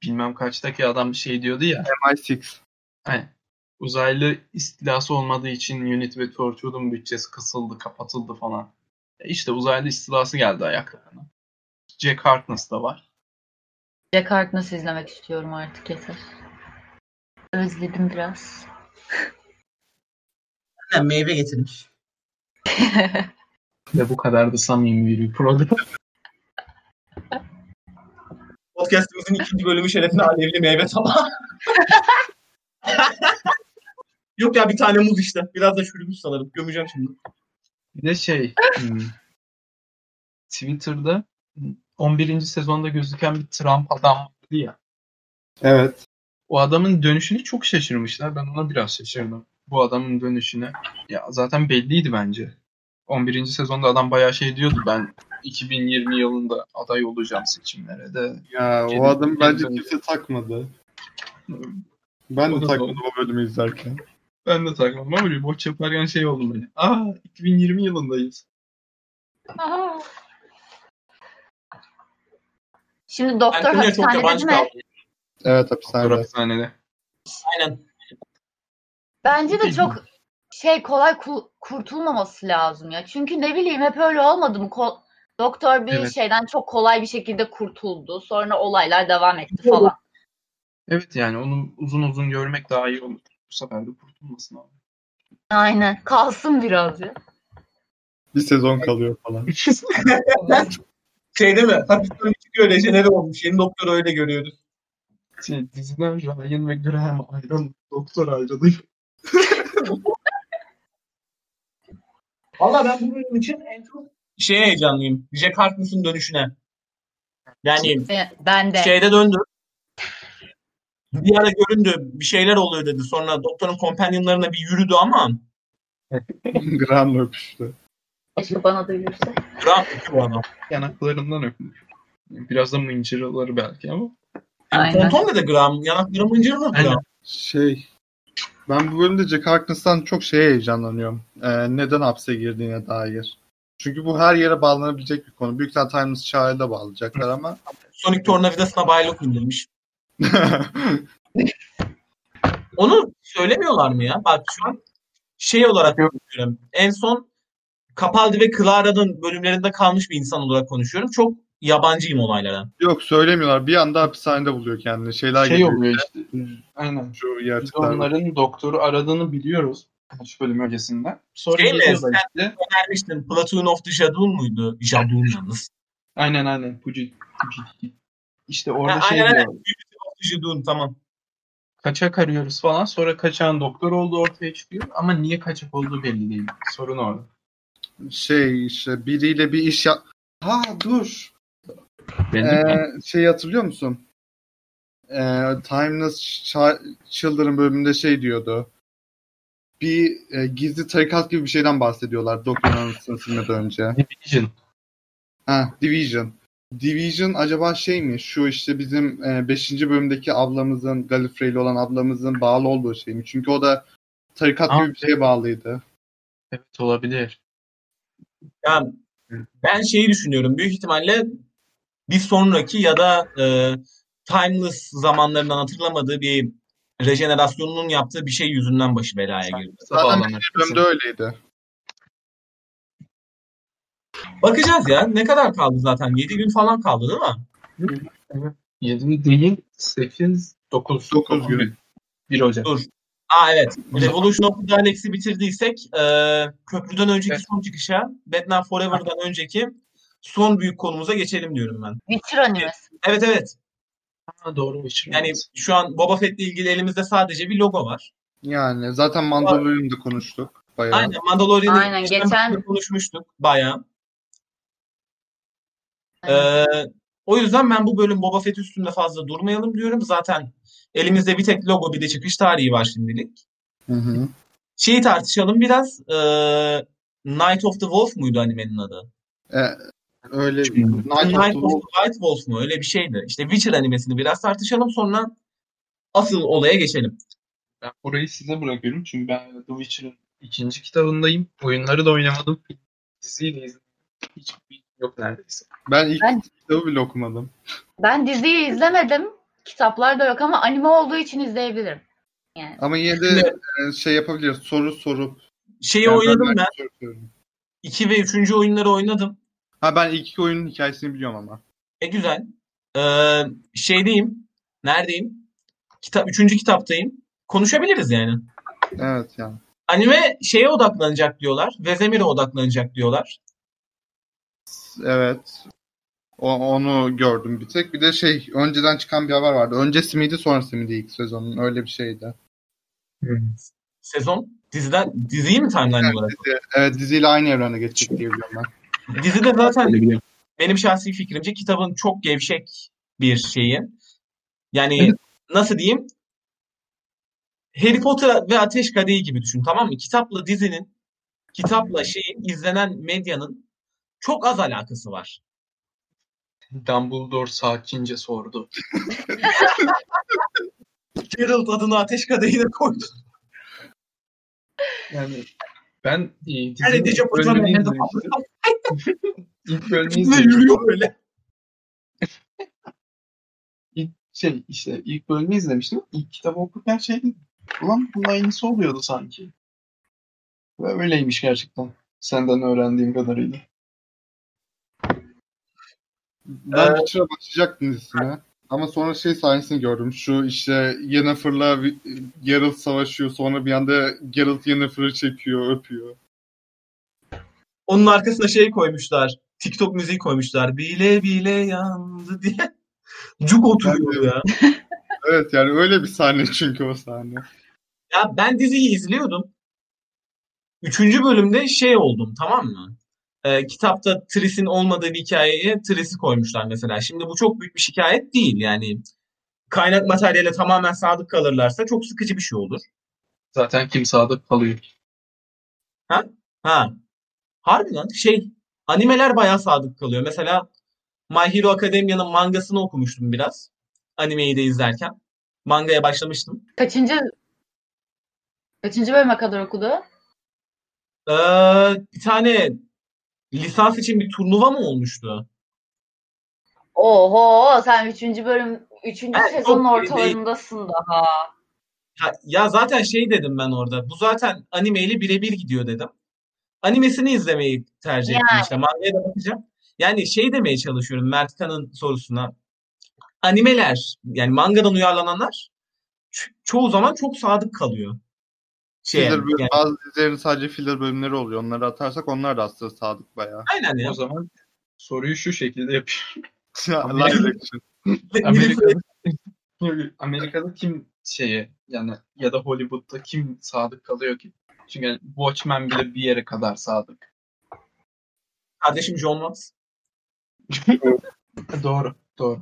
Speaker 2: bilmem kaçtaki adam şey diyordu ya.
Speaker 4: MI6.
Speaker 2: Aynen. Uzaylı istilası olmadığı için Unit ve Torchwood'un bütçesi kısıldı, kapatıldı falan. E işte uzaylı istilası geldi ayaklarına. Jack Harkness da var.
Speaker 3: Jack nasıl izlemek istiyorum artık yeter. Özledim biraz.
Speaker 1: Meyve getirmiş.
Speaker 2: Ve bu kadar da samimi bir program.
Speaker 1: Podcast'ımızın ikinci bölümü şerefine alevli meyve tabağı. Yok ya bir tane muz işte. Biraz da çürümüş sanırım. Gömeceğim şimdi.
Speaker 2: Bir de şey, hmm, Twitter'da 11. sezonda gözüken bir Trump adam vardı ya.
Speaker 4: Evet.
Speaker 2: O adamın dönüşünü çok şaşırmışlar. Ben ona biraz şaşırdım. Bu adamın dönüşüne. Ya zaten belliydi bence. 11. sezonda adam bayağı şey diyordu. Ben 2020 yılında aday olacağım seçimlere de.
Speaker 4: Ya
Speaker 2: Kendi-
Speaker 4: o adam bence
Speaker 2: kendi-
Speaker 4: kimse takmadı. Ben
Speaker 2: O
Speaker 4: de
Speaker 2: da
Speaker 4: takmadım o bölümü izlerken.
Speaker 2: Ben de takmadım ama böyle boş yaparken şey oldu böyle. Aa 2020 yılındayız.
Speaker 3: Aa. Şimdi doktor
Speaker 1: Antonio çok
Speaker 3: hapishanede
Speaker 1: yabancı
Speaker 3: değil mi?
Speaker 1: kaldı.
Speaker 4: Evet
Speaker 2: Fotoğraf
Speaker 4: hapishanede.
Speaker 2: sahnede.
Speaker 1: Aynen.
Speaker 3: Bence de
Speaker 2: Değil
Speaker 3: çok şey kolay ku- kurtulmaması lazım ya. Çünkü ne bileyim hep öyle olmadı mı? Ko- doktor bir
Speaker 2: Evet.
Speaker 3: şeyden çok kolay bir şekilde kurtuldu. Sonra olaylar devam etti falan.
Speaker 2: Evet yani onu uzun uzun görmek daha iyi olur. Bu sefer de kurtulmasın abi.
Speaker 3: Aynen. Kalsın biraz ya.
Speaker 4: Bir sezon kalıyor falan.
Speaker 1: Şey değil mi? Hafiften çıkıyor rejenere olmuş. Yeni doktoru öyle görüyoruz.
Speaker 2: şey, diziden Ryan ve Graham ayrıldı. Doktor ayrıldı.
Speaker 1: Valla ben bu bölüm için en çok şeye heyecanlıyım. Jack Harkness'ın dönüşüne. Yani
Speaker 3: Ve Ben de.
Speaker 1: şeyde döndü. Bir ara göründü. Bir şeyler oluyor dedi. Sonra doktorun kompanyonlarına bir yürüdü ama
Speaker 4: Gran'la öpüştü.
Speaker 3: Keşke bana duyulursa.
Speaker 1: Grant bu adam.
Speaker 2: Yanaklarından öpmüş. Biraz da mıncırları belki ama.
Speaker 1: Yani
Speaker 3: Aynen.
Speaker 1: Tonton dedi Graham. Yanakları mıncırır mı
Speaker 2: Aynen.
Speaker 1: Graham?
Speaker 4: Şey ben bu bölümde Jack Harkness'tan çok şeye heyecanlanıyorum. Ee, neden hapse girdiğine dair. Çünkü bu her yere bağlanabilecek bir konu. Büyük ihtimalle Times Çağrı'ya da bağlayacaklar ama.
Speaker 1: Sonic tornavidasına baylık indirmiş. Onu söylemiyorlar mı ya? Bak şu an şey olarak
Speaker 2: Yok.
Speaker 1: konuşuyorum. En son Capaldi ve Clara'nın bölümlerinde kalmış bir insan olarak konuşuyorum. Çok yabancıyım olaylara.
Speaker 4: Yok söylemiyorlar. Bir anda hapishanede buluyor kendini. Şeyler
Speaker 2: şey
Speaker 4: geliyor.
Speaker 2: oluyor işte. Aynen.
Speaker 4: Şu
Speaker 2: Biz
Speaker 4: yaratıklar.
Speaker 2: onların doktoru aradığını biliyoruz. Kaç bölüm öncesinden. Sonra
Speaker 1: Şey mi?
Speaker 2: geliyorlar işte.
Speaker 1: Önermiştin Platoon of the Shadow muydu? Shadow yalnız.
Speaker 2: Aynen aynen. Pucuk. Pucuk. İşte orada
Speaker 1: Ha,
Speaker 2: şey
Speaker 1: aynen,
Speaker 2: diyor.
Speaker 1: Of the Shadow tamam.
Speaker 2: Kaçak arıyoruz falan. Sonra kaçağın doktor olduğu ortaya çıkıyor. Ama niye kaçak olduğu belli değil. Sorun orada.
Speaker 4: Şey işte biriyle bir iş yap... Ha dur.
Speaker 2: Belli mi?
Speaker 4: Ee, şey hatırlıyor musun? Ee, Timeless Ch- Children bölümünde şey diyordu. Bir e, gizli tarikat gibi bir şeyden bahsediyorlar. Doktorun anısını silmeden önce.
Speaker 2: Division.
Speaker 4: Ha, Division. Division acaba şey mi? Şu işte bizim 5. bölümdeki ablamızın, Gallifrey'li olan ablamızın bağlı olduğu şey mi? Çünkü o da tarikat
Speaker 2: Aa,
Speaker 4: gibi bir şeye bağlıydı.
Speaker 2: Evet olabilir.
Speaker 1: Yani ben şeyi düşünüyorum. Büyük ihtimalle bir sonraki ya da e, timeless zamanlarından hatırlamadığı bir rejenerasyonunun yaptığı bir şey yüzünden başı belaya girdi.
Speaker 4: Zaten
Speaker 2: Zaten
Speaker 4: Bölümde öyleydi.
Speaker 1: Bakacağız ya. Ne kadar kaldı zaten? 7 gün falan kaldı değil mi?
Speaker 2: 7 değil 8 9
Speaker 4: Dokuz gün.
Speaker 2: 1 Ocak.
Speaker 1: Dur. Aa evet. Revolution of the Galaxy bitirdiysek e, köprüden önceki
Speaker 2: Evet.
Speaker 1: son çıkışa Batman Forever'dan önceki son büyük konumuza geçelim diyorum ben.
Speaker 3: Witcher animesi.
Speaker 1: Evet evet.
Speaker 2: Ha, doğru şey Witcher.
Speaker 1: Yani şu an Boba Fett'le ilgili elimizde sadece bir logo var.
Speaker 4: Yani zaten Mandalorian'da konuştuk bayağı.
Speaker 1: Aynen Mandalorian'ı
Speaker 3: Aynen, geçen-
Speaker 1: bölümde konuşmuştuk bayağı. Ee, o yüzden ben bu bölüm Boba Fett üstünde fazla durmayalım diyorum. Zaten elimizde bir tek logo bir de çıkış tarihi var şimdilik.
Speaker 4: Hı hı.
Speaker 1: Şeyi tartışalım biraz. Ee, Night of the Wolf muydu animenin adı?
Speaker 4: E, öyle
Speaker 2: Çünkü-
Speaker 4: Night of the
Speaker 1: Night of
Speaker 4: Wolf.
Speaker 1: the White Wolf mu? Öyle bir şeydi. İşte Witcher animesini biraz tartışalım sonra asıl olaya geçelim.
Speaker 2: Ben burayı size bırakıyorum çünkü ben The Witcher'ın ikinci kitabındayım. Oyunları da oynamadım. Diziyi de izledim. Hiçbir bilgim yok neredeyse.
Speaker 4: Ben ilk
Speaker 3: Ben-
Speaker 4: kitabı bile okumadım.
Speaker 3: Ben diziyi izlemedim. Kitaplar da yok ama anime olduğu için izleyebilirim. Yani.
Speaker 4: Ama yine de e, şey yapabiliriz. Soru sorup.
Speaker 1: Şeyi
Speaker 4: Yani
Speaker 1: oynadım
Speaker 4: ben-
Speaker 1: ben. 2 ve 3. oyunları oynadım.
Speaker 4: Ha ben ilk iki oyunun hikayesini biliyorum ama.
Speaker 1: E güzel. Ee, şeydeyim. Neredeyim? Kitap, üçüncü kitaptayım. Konuşabiliriz yani.
Speaker 4: Evet yani.
Speaker 1: Anime şeye odaklanacak diyorlar. Vezemir'e odaklanacak diyorlar.
Speaker 4: Evet. O, onu gördüm bir tek. Bir de şey önceden çıkan bir haber vardı. Öncesi miydi sonrası mıydı ilk sezonun? Öyle bir şeydi.
Speaker 1: Sezon. Diziden, diziyi mi timeline olarak?
Speaker 4: Dizi, evet diziyle aynı evrene geçecek diye biliyorum ben.
Speaker 1: Dizide zaten
Speaker 2: Öyle biliyorum.
Speaker 1: benim şahsi fikrimce kitabın çok gevşek bir şeyi. Yani nasıl diyeyim? Harry Potter ve Ateş Kadehi gibi düşün tamam mı? Kitapla dizinin, kitapla şeyin, izlenen medyanın çok az alakası var.
Speaker 2: Dumbledore sakince sordu.
Speaker 1: Geralt adını Ateş Kadehi'ne koydu.
Speaker 2: Yani ben e, dizinin
Speaker 1: Yani
Speaker 2: ilk
Speaker 1: Dece Hoca'nın
Speaker 2: bölümünü
Speaker 1: elinde
Speaker 2: izlemiştim. İlk bölümünü
Speaker 1: Ve
Speaker 2: izlemiştim.
Speaker 1: yürüyor böyle.
Speaker 2: İlk şey işte ilk bölümü izlemiştim. İlk kitabı okurken şey dedim. Ulan bunun aynısı oluyordu sanki. Ve öyleymiş gerçekten. Senden öğrendiğim kadarıyla.
Speaker 4: Ben Witcher'a başlayacaktım dizisine. Ama sonra şey sahnesini gördüm. Şu işte Yennefer'la Vi- Geralt savaşıyor. Sonra bir anda Geralt Yennefer'ı çekiyor, öpüyor.
Speaker 1: Onun arkasına şey koymuşlar. TikTok müziği koymuşlar. Bile bile yandı diye. Cuk oturuyor ya.
Speaker 4: Evet yani öyle bir sahne çünkü o sahne.
Speaker 1: Ya ben diziyi izliyordum. Üçüncü bölümde şey oldum tamam mı? Ee, kitapta Tris'in olmadığı bir hikayeye Tris'i koymuşlar mesela. Şimdi bu çok büyük bir şikayet değil yani. Kaynak materyale tamamen sadık kalırlarsa çok sıkıcı bir şey olur.
Speaker 2: Zaten kim sadık kalıyor.
Speaker 1: Ha. Harbiden şey animeler bayağı sadık kalıyor. Mesela My Hero Academia'nın mangasını okumuştum biraz. Animeyi de izlerken. Mangaya başlamıştım.
Speaker 3: Kaçıncı Kaçıncı bölüme kadar okudu?
Speaker 1: Ee, bir tane lisans için bir turnuva mı olmuştu?
Speaker 3: Oho sen 3. bölüm 3.
Speaker 1: Evet,
Speaker 3: sezonun
Speaker 1: çok iyi
Speaker 3: ortalarındasın daha.
Speaker 1: Ya, ya zaten şey dedim ben orada. Bu zaten animeyle birebir gidiyor dedim. Animesini izlemeyi tercih ettim işte. Mangaya da bakacağım. Yani şey demeye çalışıyorum Mert Kan'ın sorusuna. Animeler yani mangadan uyarlananlar ço- çoğu zaman çok sadık kalıyor. Şey,
Speaker 4: Filler bölüm-
Speaker 1: yani,
Speaker 4: bazı dizilerin sadece filler bölümleri oluyor. Onları atarsak onlar da aslında sadık bayağı.
Speaker 1: aynen ya.
Speaker 2: O zaman soruyu şu şekilde yapıyor.
Speaker 4: Live action.
Speaker 2: Amerika'da, Amerika'da kim şeye yani ya da Hollywood'da kim sadık kalıyor ki? Çünkü yani Watchmen bile bir yere kadar sadık.
Speaker 1: Kardeşim John Watts.
Speaker 2: doğru, doğru.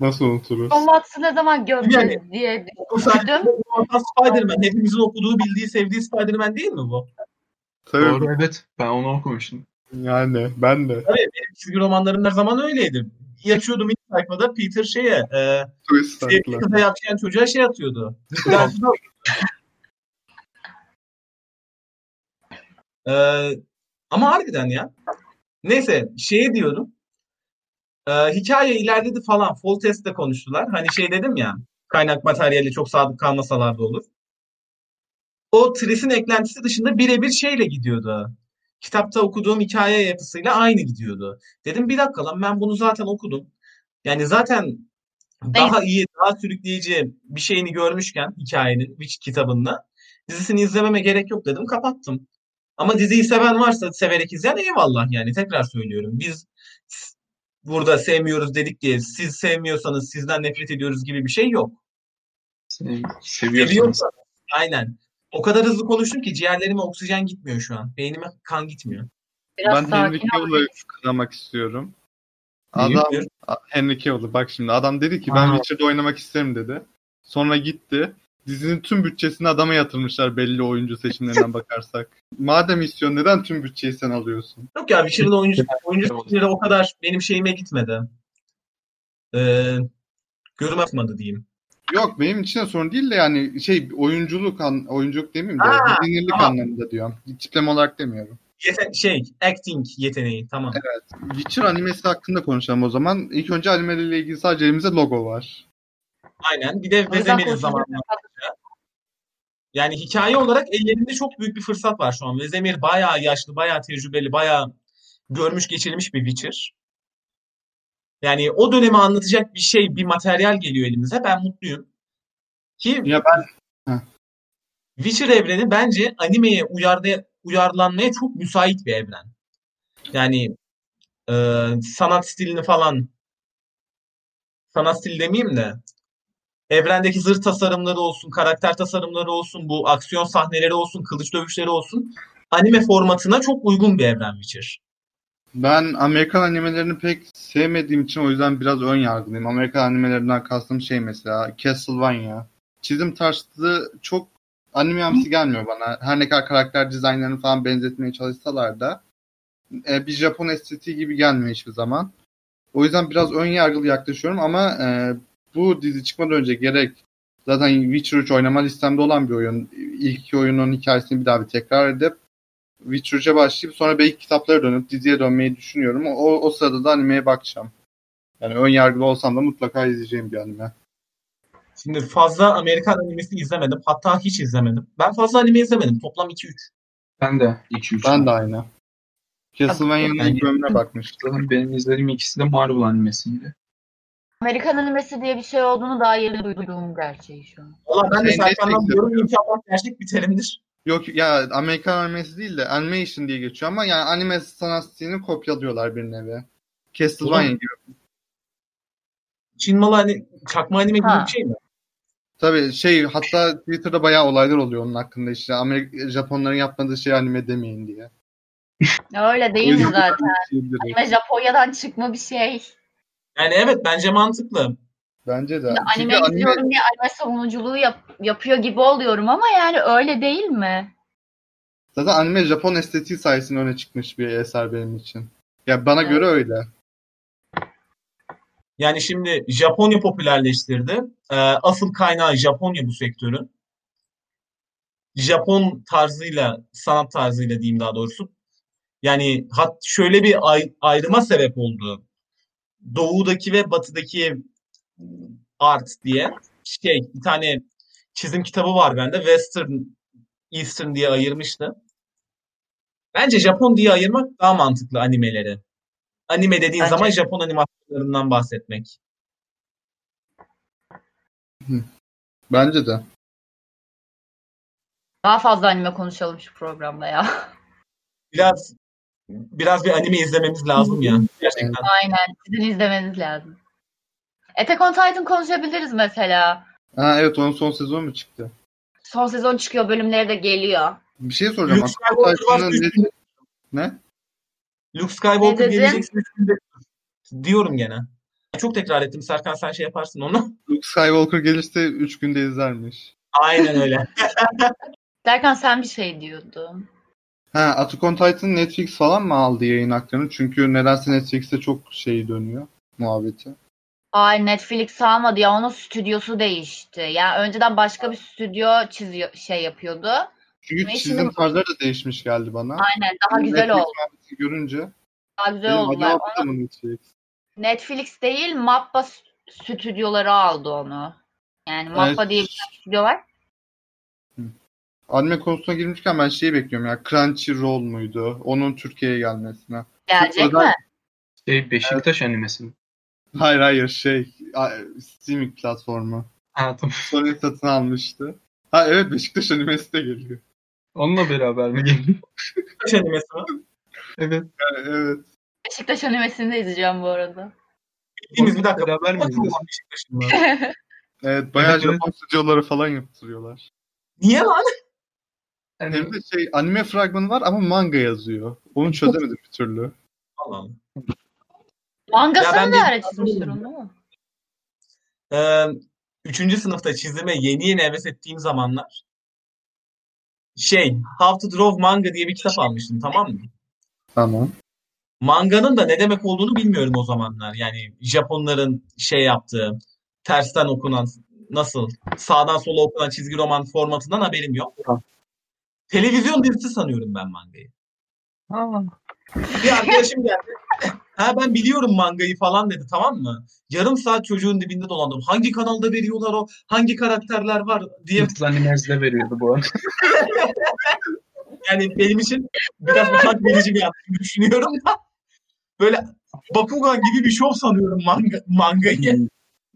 Speaker 4: Nasıl unuturuz?
Speaker 3: John Watts'ı ne zaman göreceğiz
Speaker 1: Yani-
Speaker 3: diye
Speaker 1: O sadece
Speaker 3: düşündüm.
Speaker 1: John Watts Spider-Man. Hepimizin okuduğu, bildiği, sevdiği Spider-Man değil mi bu?
Speaker 4: Tabii
Speaker 2: Doğru evet. Ben onu okumuştum.
Speaker 4: Yani ben de.
Speaker 1: Çizgi romanlarım her zaman öyleydi. Yaşıyordum ilk sayfada Peter şeye, e,
Speaker 4: Twist
Speaker 1: sevgili
Speaker 4: haklı.
Speaker 1: kıza yatışan çocuğa şey atıyordu. Dersi yok. Ee, ama harbiden ya. Neyse şey diyorum. Ee, hikaye ilerledi falan. Full testte konuştular. Hani şey dedim ya. Kaynak materyali çok sadık kalmasalar da olur. O Tris'in eklentisi dışında birebir şeyle gidiyordu. Kitapta okuduğum hikaye yapısıyla aynı gidiyordu. Dedim bir dakika lan ben bunu zaten okudum. Yani zaten daha iyi, daha sürükleyici bir şeyini görmüşken hikayenin, Witch kitabında dizisini izlememe gerek yok dedim, kapattım. Ama diziyi seven varsa severek izleyen eyvallah yani tekrar söylüyorum. Biz s- burada sevmiyoruz dedik diye siz sevmiyorsanız sizden nefret ediyoruz gibi bir şey yok.
Speaker 2: Seni seviyorsunuz.
Speaker 1: Seviyorsanız aynen. O kadar hızlı konuştum ki ciğerlerime oksijen gitmiyor şu an. Beynime kan gitmiyor.
Speaker 4: Ben Henry
Speaker 3: sakin ol.
Speaker 4: Cavill'ı kınamak istiyorum.
Speaker 2: Neyi?
Speaker 4: Adam A- Henry Cavill'ı bak şimdi adam dedi ki ben
Speaker 2: Aa.
Speaker 4: Witcher'da oynamak isterim dedi. Sonra gitti. Dizinin tüm bütçesini adama yatırmışlar belli oyuncu seçimlerinden bakarsak. Madem istiyorsun neden tüm bütçeyi sen alıyorsun?
Speaker 1: Yok ya Witcher'ın oyuncu, oyuncu
Speaker 2: Evet.
Speaker 1: seçimleri o kadar benim şeyime gitmedi. Ee, gözüm atmadı diyeyim.
Speaker 4: Yok benim için de sorun değil de yani şey oyunculuk an, oyunculuk demeyeyim de
Speaker 1: Aa,
Speaker 4: bilinirlik
Speaker 1: tamam.
Speaker 4: anlamında diyorum. Tipleme olarak demiyorum.
Speaker 1: Yeten- şey acting yeteneği tamam.
Speaker 4: Witcher animesi hakkında konuşalım o zaman. İlk önce animeleriyle ilgili sadece elimizde logo var.
Speaker 1: Aynen. Bir de
Speaker 3: O yüzden
Speaker 1: Vezemir'in
Speaker 3: konuşmamız
Speaker 1: zamanı. şey. Yani hikaye olarak ellerinde çok büyük bir fırsat var şu an. Vezemir bayağı yaşlı, bayağı tecrübeli, bayağı görmüş geçirmiş bir Witcher. Yani o dönemi anlatacak bir şey, bir materyal geliyor elimize. Ben mutluyum. Ki
Speaker 4: Ya
Speaker 1: Witcher evreni bence animeye uyarda, uyarlanmaya çok müsait bir evren. Yani e, sanat stilini falan sanat stili demeyeyim de evrendeki zırh tasarımları olsun, karakter tasarımları olsun, bu aksiyon sahneleri olsun, kılıç dövüşleri olsun anime formatına çok uygun bir evren Witcher.
Speaker 4: Ben Amerikan animelerini pek sevmediğim için o yüzden biraz ön yargılıyım. Amerikan animelerinden kastım şey mesela Castlevania. Çizim tarzı çok animemsi gelmiyor bana. Her ne kadar karakter dizaynlarını falan benzetmeye çalışsalar da e, bir Japon estetiği gibi gelmiyor hiçbir zaman. O yüzden biraz ön yargılı yaklaşıyorum ama e, bu dizi çıkmadan önce gerek zaten Witcher 3 oynama listemde olan bir oyun. İlk iki oyunun hikayesini bir daha bir tekrar edip Witcher 3'e başlayıp sonra belki kitaplara dönüp diziye dönmeyi düşünüyorum. O, o sırada da animeye bakacağım. Yani ön yargılı olsam da mutlaka izleyeceğim bir anime.
Speaker 1: Şimdi fazla Amerikan animesi izlemedim. Hatta hiç izlemedim. Ben fazla anime izlemedim. Toplam 2-3.
Speaker 2: Ben de 2-3.
Speaker 4: Ben de aynı. Castlevania'nın
Speaker 2: Yani-
Speaker 4: ilk bölümüne bakmıştım.
Speaker 2: Zaten benim izlediğim ikisi de Marvel animesiydi.
Speaker 3: Amerikan animesi diye bir şey olduğunu daha yeni duyduğum gerçeği şu an.
Speaker 1: Valla ben de
Speaker 4: Şey,
Speaker 1: Serkan'dan
Speaker 4: Netflix'te
Speaker 1: diyorum
Speaker 4: yapıyor.
Speaker 1: inşallah gerçek bir terimdir.
Speaker 4: Yok ya Amerikan animesi değil de animation diye geçiyor ama yani anime sanat stilini kopyalıyorlar bir nevi. Castlevania gibi.
Speaker 1: Çin malı hani çakma anime gibi
Speaker 3: Ha.
Speaker 1: bir şey mi?
Speaker 4: Tabii şey hatta Twitter'da bayağı olaylar oluyor onun hakkında işte Amerika, Japonların yapmadığı şey anime demeyin diye.
Speaker 3: Öyle değil mi zaten?
Speaker 4: şey Diyebilirim.
Speaker 3: Anime Japonya'dan çıkma bir şey.
Speaker 1: Yani evet bence mantıklı.
Speaker 4: Bence de.
Speaker 3: Anime
Speaker 4: Çünkü anime,
Speaker 3: izliyorum diye anime savunuculuğu yap- yapıyor gibi oluyorum ama yani öyle değil mi?
Speaker 4: Zaten anime Japon estetiği sayesinde öne çıkmış bir eser benim için. Ya bana
Speaker 3: Evet.
Speaker 4: göre öyle.
Speaker 1: Yani şimdi Japonya popülerleştirdi. Ee, asıl kaynağı Japonya bu sektörün. Japon tarzıyla, sanat tarzıyla diyeyim daha doğrusu. Yani hat şöyle bir ay- ayrıma sebep oldu. Doğudaki ve batıdaki art diye şey bir tane çizim kitabı var bende. Western, Eastern diye ayırmıştı. Bence Japon diye ayırmak daha mantıklı animeleri. Anime dediğin
Speaker 3: Bence
Speaker 1: zaman
Speaker 3: de.
Speaker 1: Japon animasyonlarından bahsetmek.
Speaker 4: Bence de.
Speaker 3: Daha fazla anime konuşalım şu programda ya.
Speaker 1: biraz biraz bir anime izlememiz lazım ya. Gerçekten.
Speaker 3: Aynen. Sizin izlemeniz lazım. Attack on Titan konuşabiliriz mesela.
Speaker 4: Ha evet onun son sezonu mu çıktı?
Speaker 3: Son sezon çıkıyor, bölümleri de geliyor.
Speaker 4: Bir şey soracağım.
Speaker 1: Luke Skywalker
Speaker 4: Attack on
Speaker 1: varsa
Speaker 4: Titan'ın
Speaker 1: üç
Speaker 4: ne-
Speaker 1: günde-
Speaker 4: Ne?
Speaker 1: Luke Skywalker
Speaker 3: Ne dedin?
Speaker 1: gelecek üç günde diyorum gene. Çok tekrar ettim Serkan sen şey yaparsın onu.
Speaker 4: Luke Skywalker gelirse 3 günde izlermiş.
Speaker 1: Aynen öyle.
Speaker 3: Derken sen bir şey diyordun.
Speaker 4: Ha, Attack on Titan Netflix falan mı aldı yayın haklarını? Çünkü nedense Netflix'te çok şey dönüyor muhabbeti.
Speaker 3: Ay Netflix almadı ya onun stüdyosu değişti. Yani önceden başka bir stüdyo çiziyor, şey yapıyordu.
Speaker 4: Çünkü
Speaker 3: Neyse,
Speaker 4: çizim
Speaker 3: şimdi-
Speaker 4: tarzları da değişmiş geldi bana.
Speaker 3: Aynen daha güzel
Speaker 4: Netflix
Speaker 3: oldu.
Speaker 4: muhabbeti görünce
Speaker 3: Daha güzel
Speaker 4: dedim
Speaker 3: oldular.
Speaker 4: hadi yaptı mı Netflix?
Speaker 3: Netflix değil Mappa stü- stüdyoları aldı onu. Yani Mappa
Speaker 4: Evet.
Speaker 3: diye bir stüdyo var.
Speaker 4: Anime konusuna girmişken ben şeyi bekliyorum ya. Crunchyroll muydu? Onun Türkiye'ye gelmesine.
Speaker 3: Gelecek
Speaker 4: özel-
Speaker 3: mi?
Speaker 2: Şey, Beşiktaş animesi mi?
Speaker 4: Hayır hayır şey a- streaming platformu.
Speaker 2: Ha tamam.
Speaker 4: Sony satın almıştı. Ha evet Beşiktaş animesi de geliyor.
Speaker 2: Onunla beraber mi geliyor?
Speaker 1: Beşiktaş animesi var.
Speaker 2: evet.
Speaker 4: Ha, evet.
Speaker 3: Beşiktaş animesini de izleyeceğim bu arada.
Speaker 1: Bildiğimiz
Speaker 2: Onunla
Speaker 1: bir dakika.
Speaker 2: Beraber mi
Speaker 1: Bakın
Speaker 2: izliyorsun?
Speaker 1: lan Beşiktaş'ın var.
Speaker 4: Evet bayağı
Speaker 2: Evet, evet.
Speaker 4: Japon stüdyoları falan yaptırıyorlar.
Speaker 1: Niye lan?
Speaker 2: Yani,
Speaker 4: Hem de şey anime fragmanı var ama manga yazıyor. Onu çözemedim bir türlü.
Speaker 1: Allah Allah. Ya ben bir-
Speaker 3: Mangasını da öyle çizmiştir onu değil mi?
Speaker 1: Ee, üçüncü sınıfta çizime yeni yeni heves ettiğim zamanlar şey How to Draw Manga diye bir kitap almıştım tamam mı?
Speaker 4: Tamam.
Speaker 1: Manganın da ne demek olduğunu bilmiyorum o zamanlar. Yani Japonların şey yaptığı, tersten okunan, nasıl sağdan sola okunan çizgi roman formatından haberim yok. Televizyon dizisi sanıyorum ben mangayı.
Speaker 2: ha,
Speaker 1: Bir arkadaşım geldi. Ha ben biliyorum mangayı falan dedi tamam mı? Yarım saat çocuğun dibinde dolandım. Hangi kanalda veriyorlar o? Hangi karakterler var diye.
Speaker 2: Yıldız Animes'de veriyordu bu arada.
Speaker 1: Yani benim için biraz utanç verici bir an düşünüyorum da. Böyle Bakugan gibi bir şov sanıyorum manga, mangayı.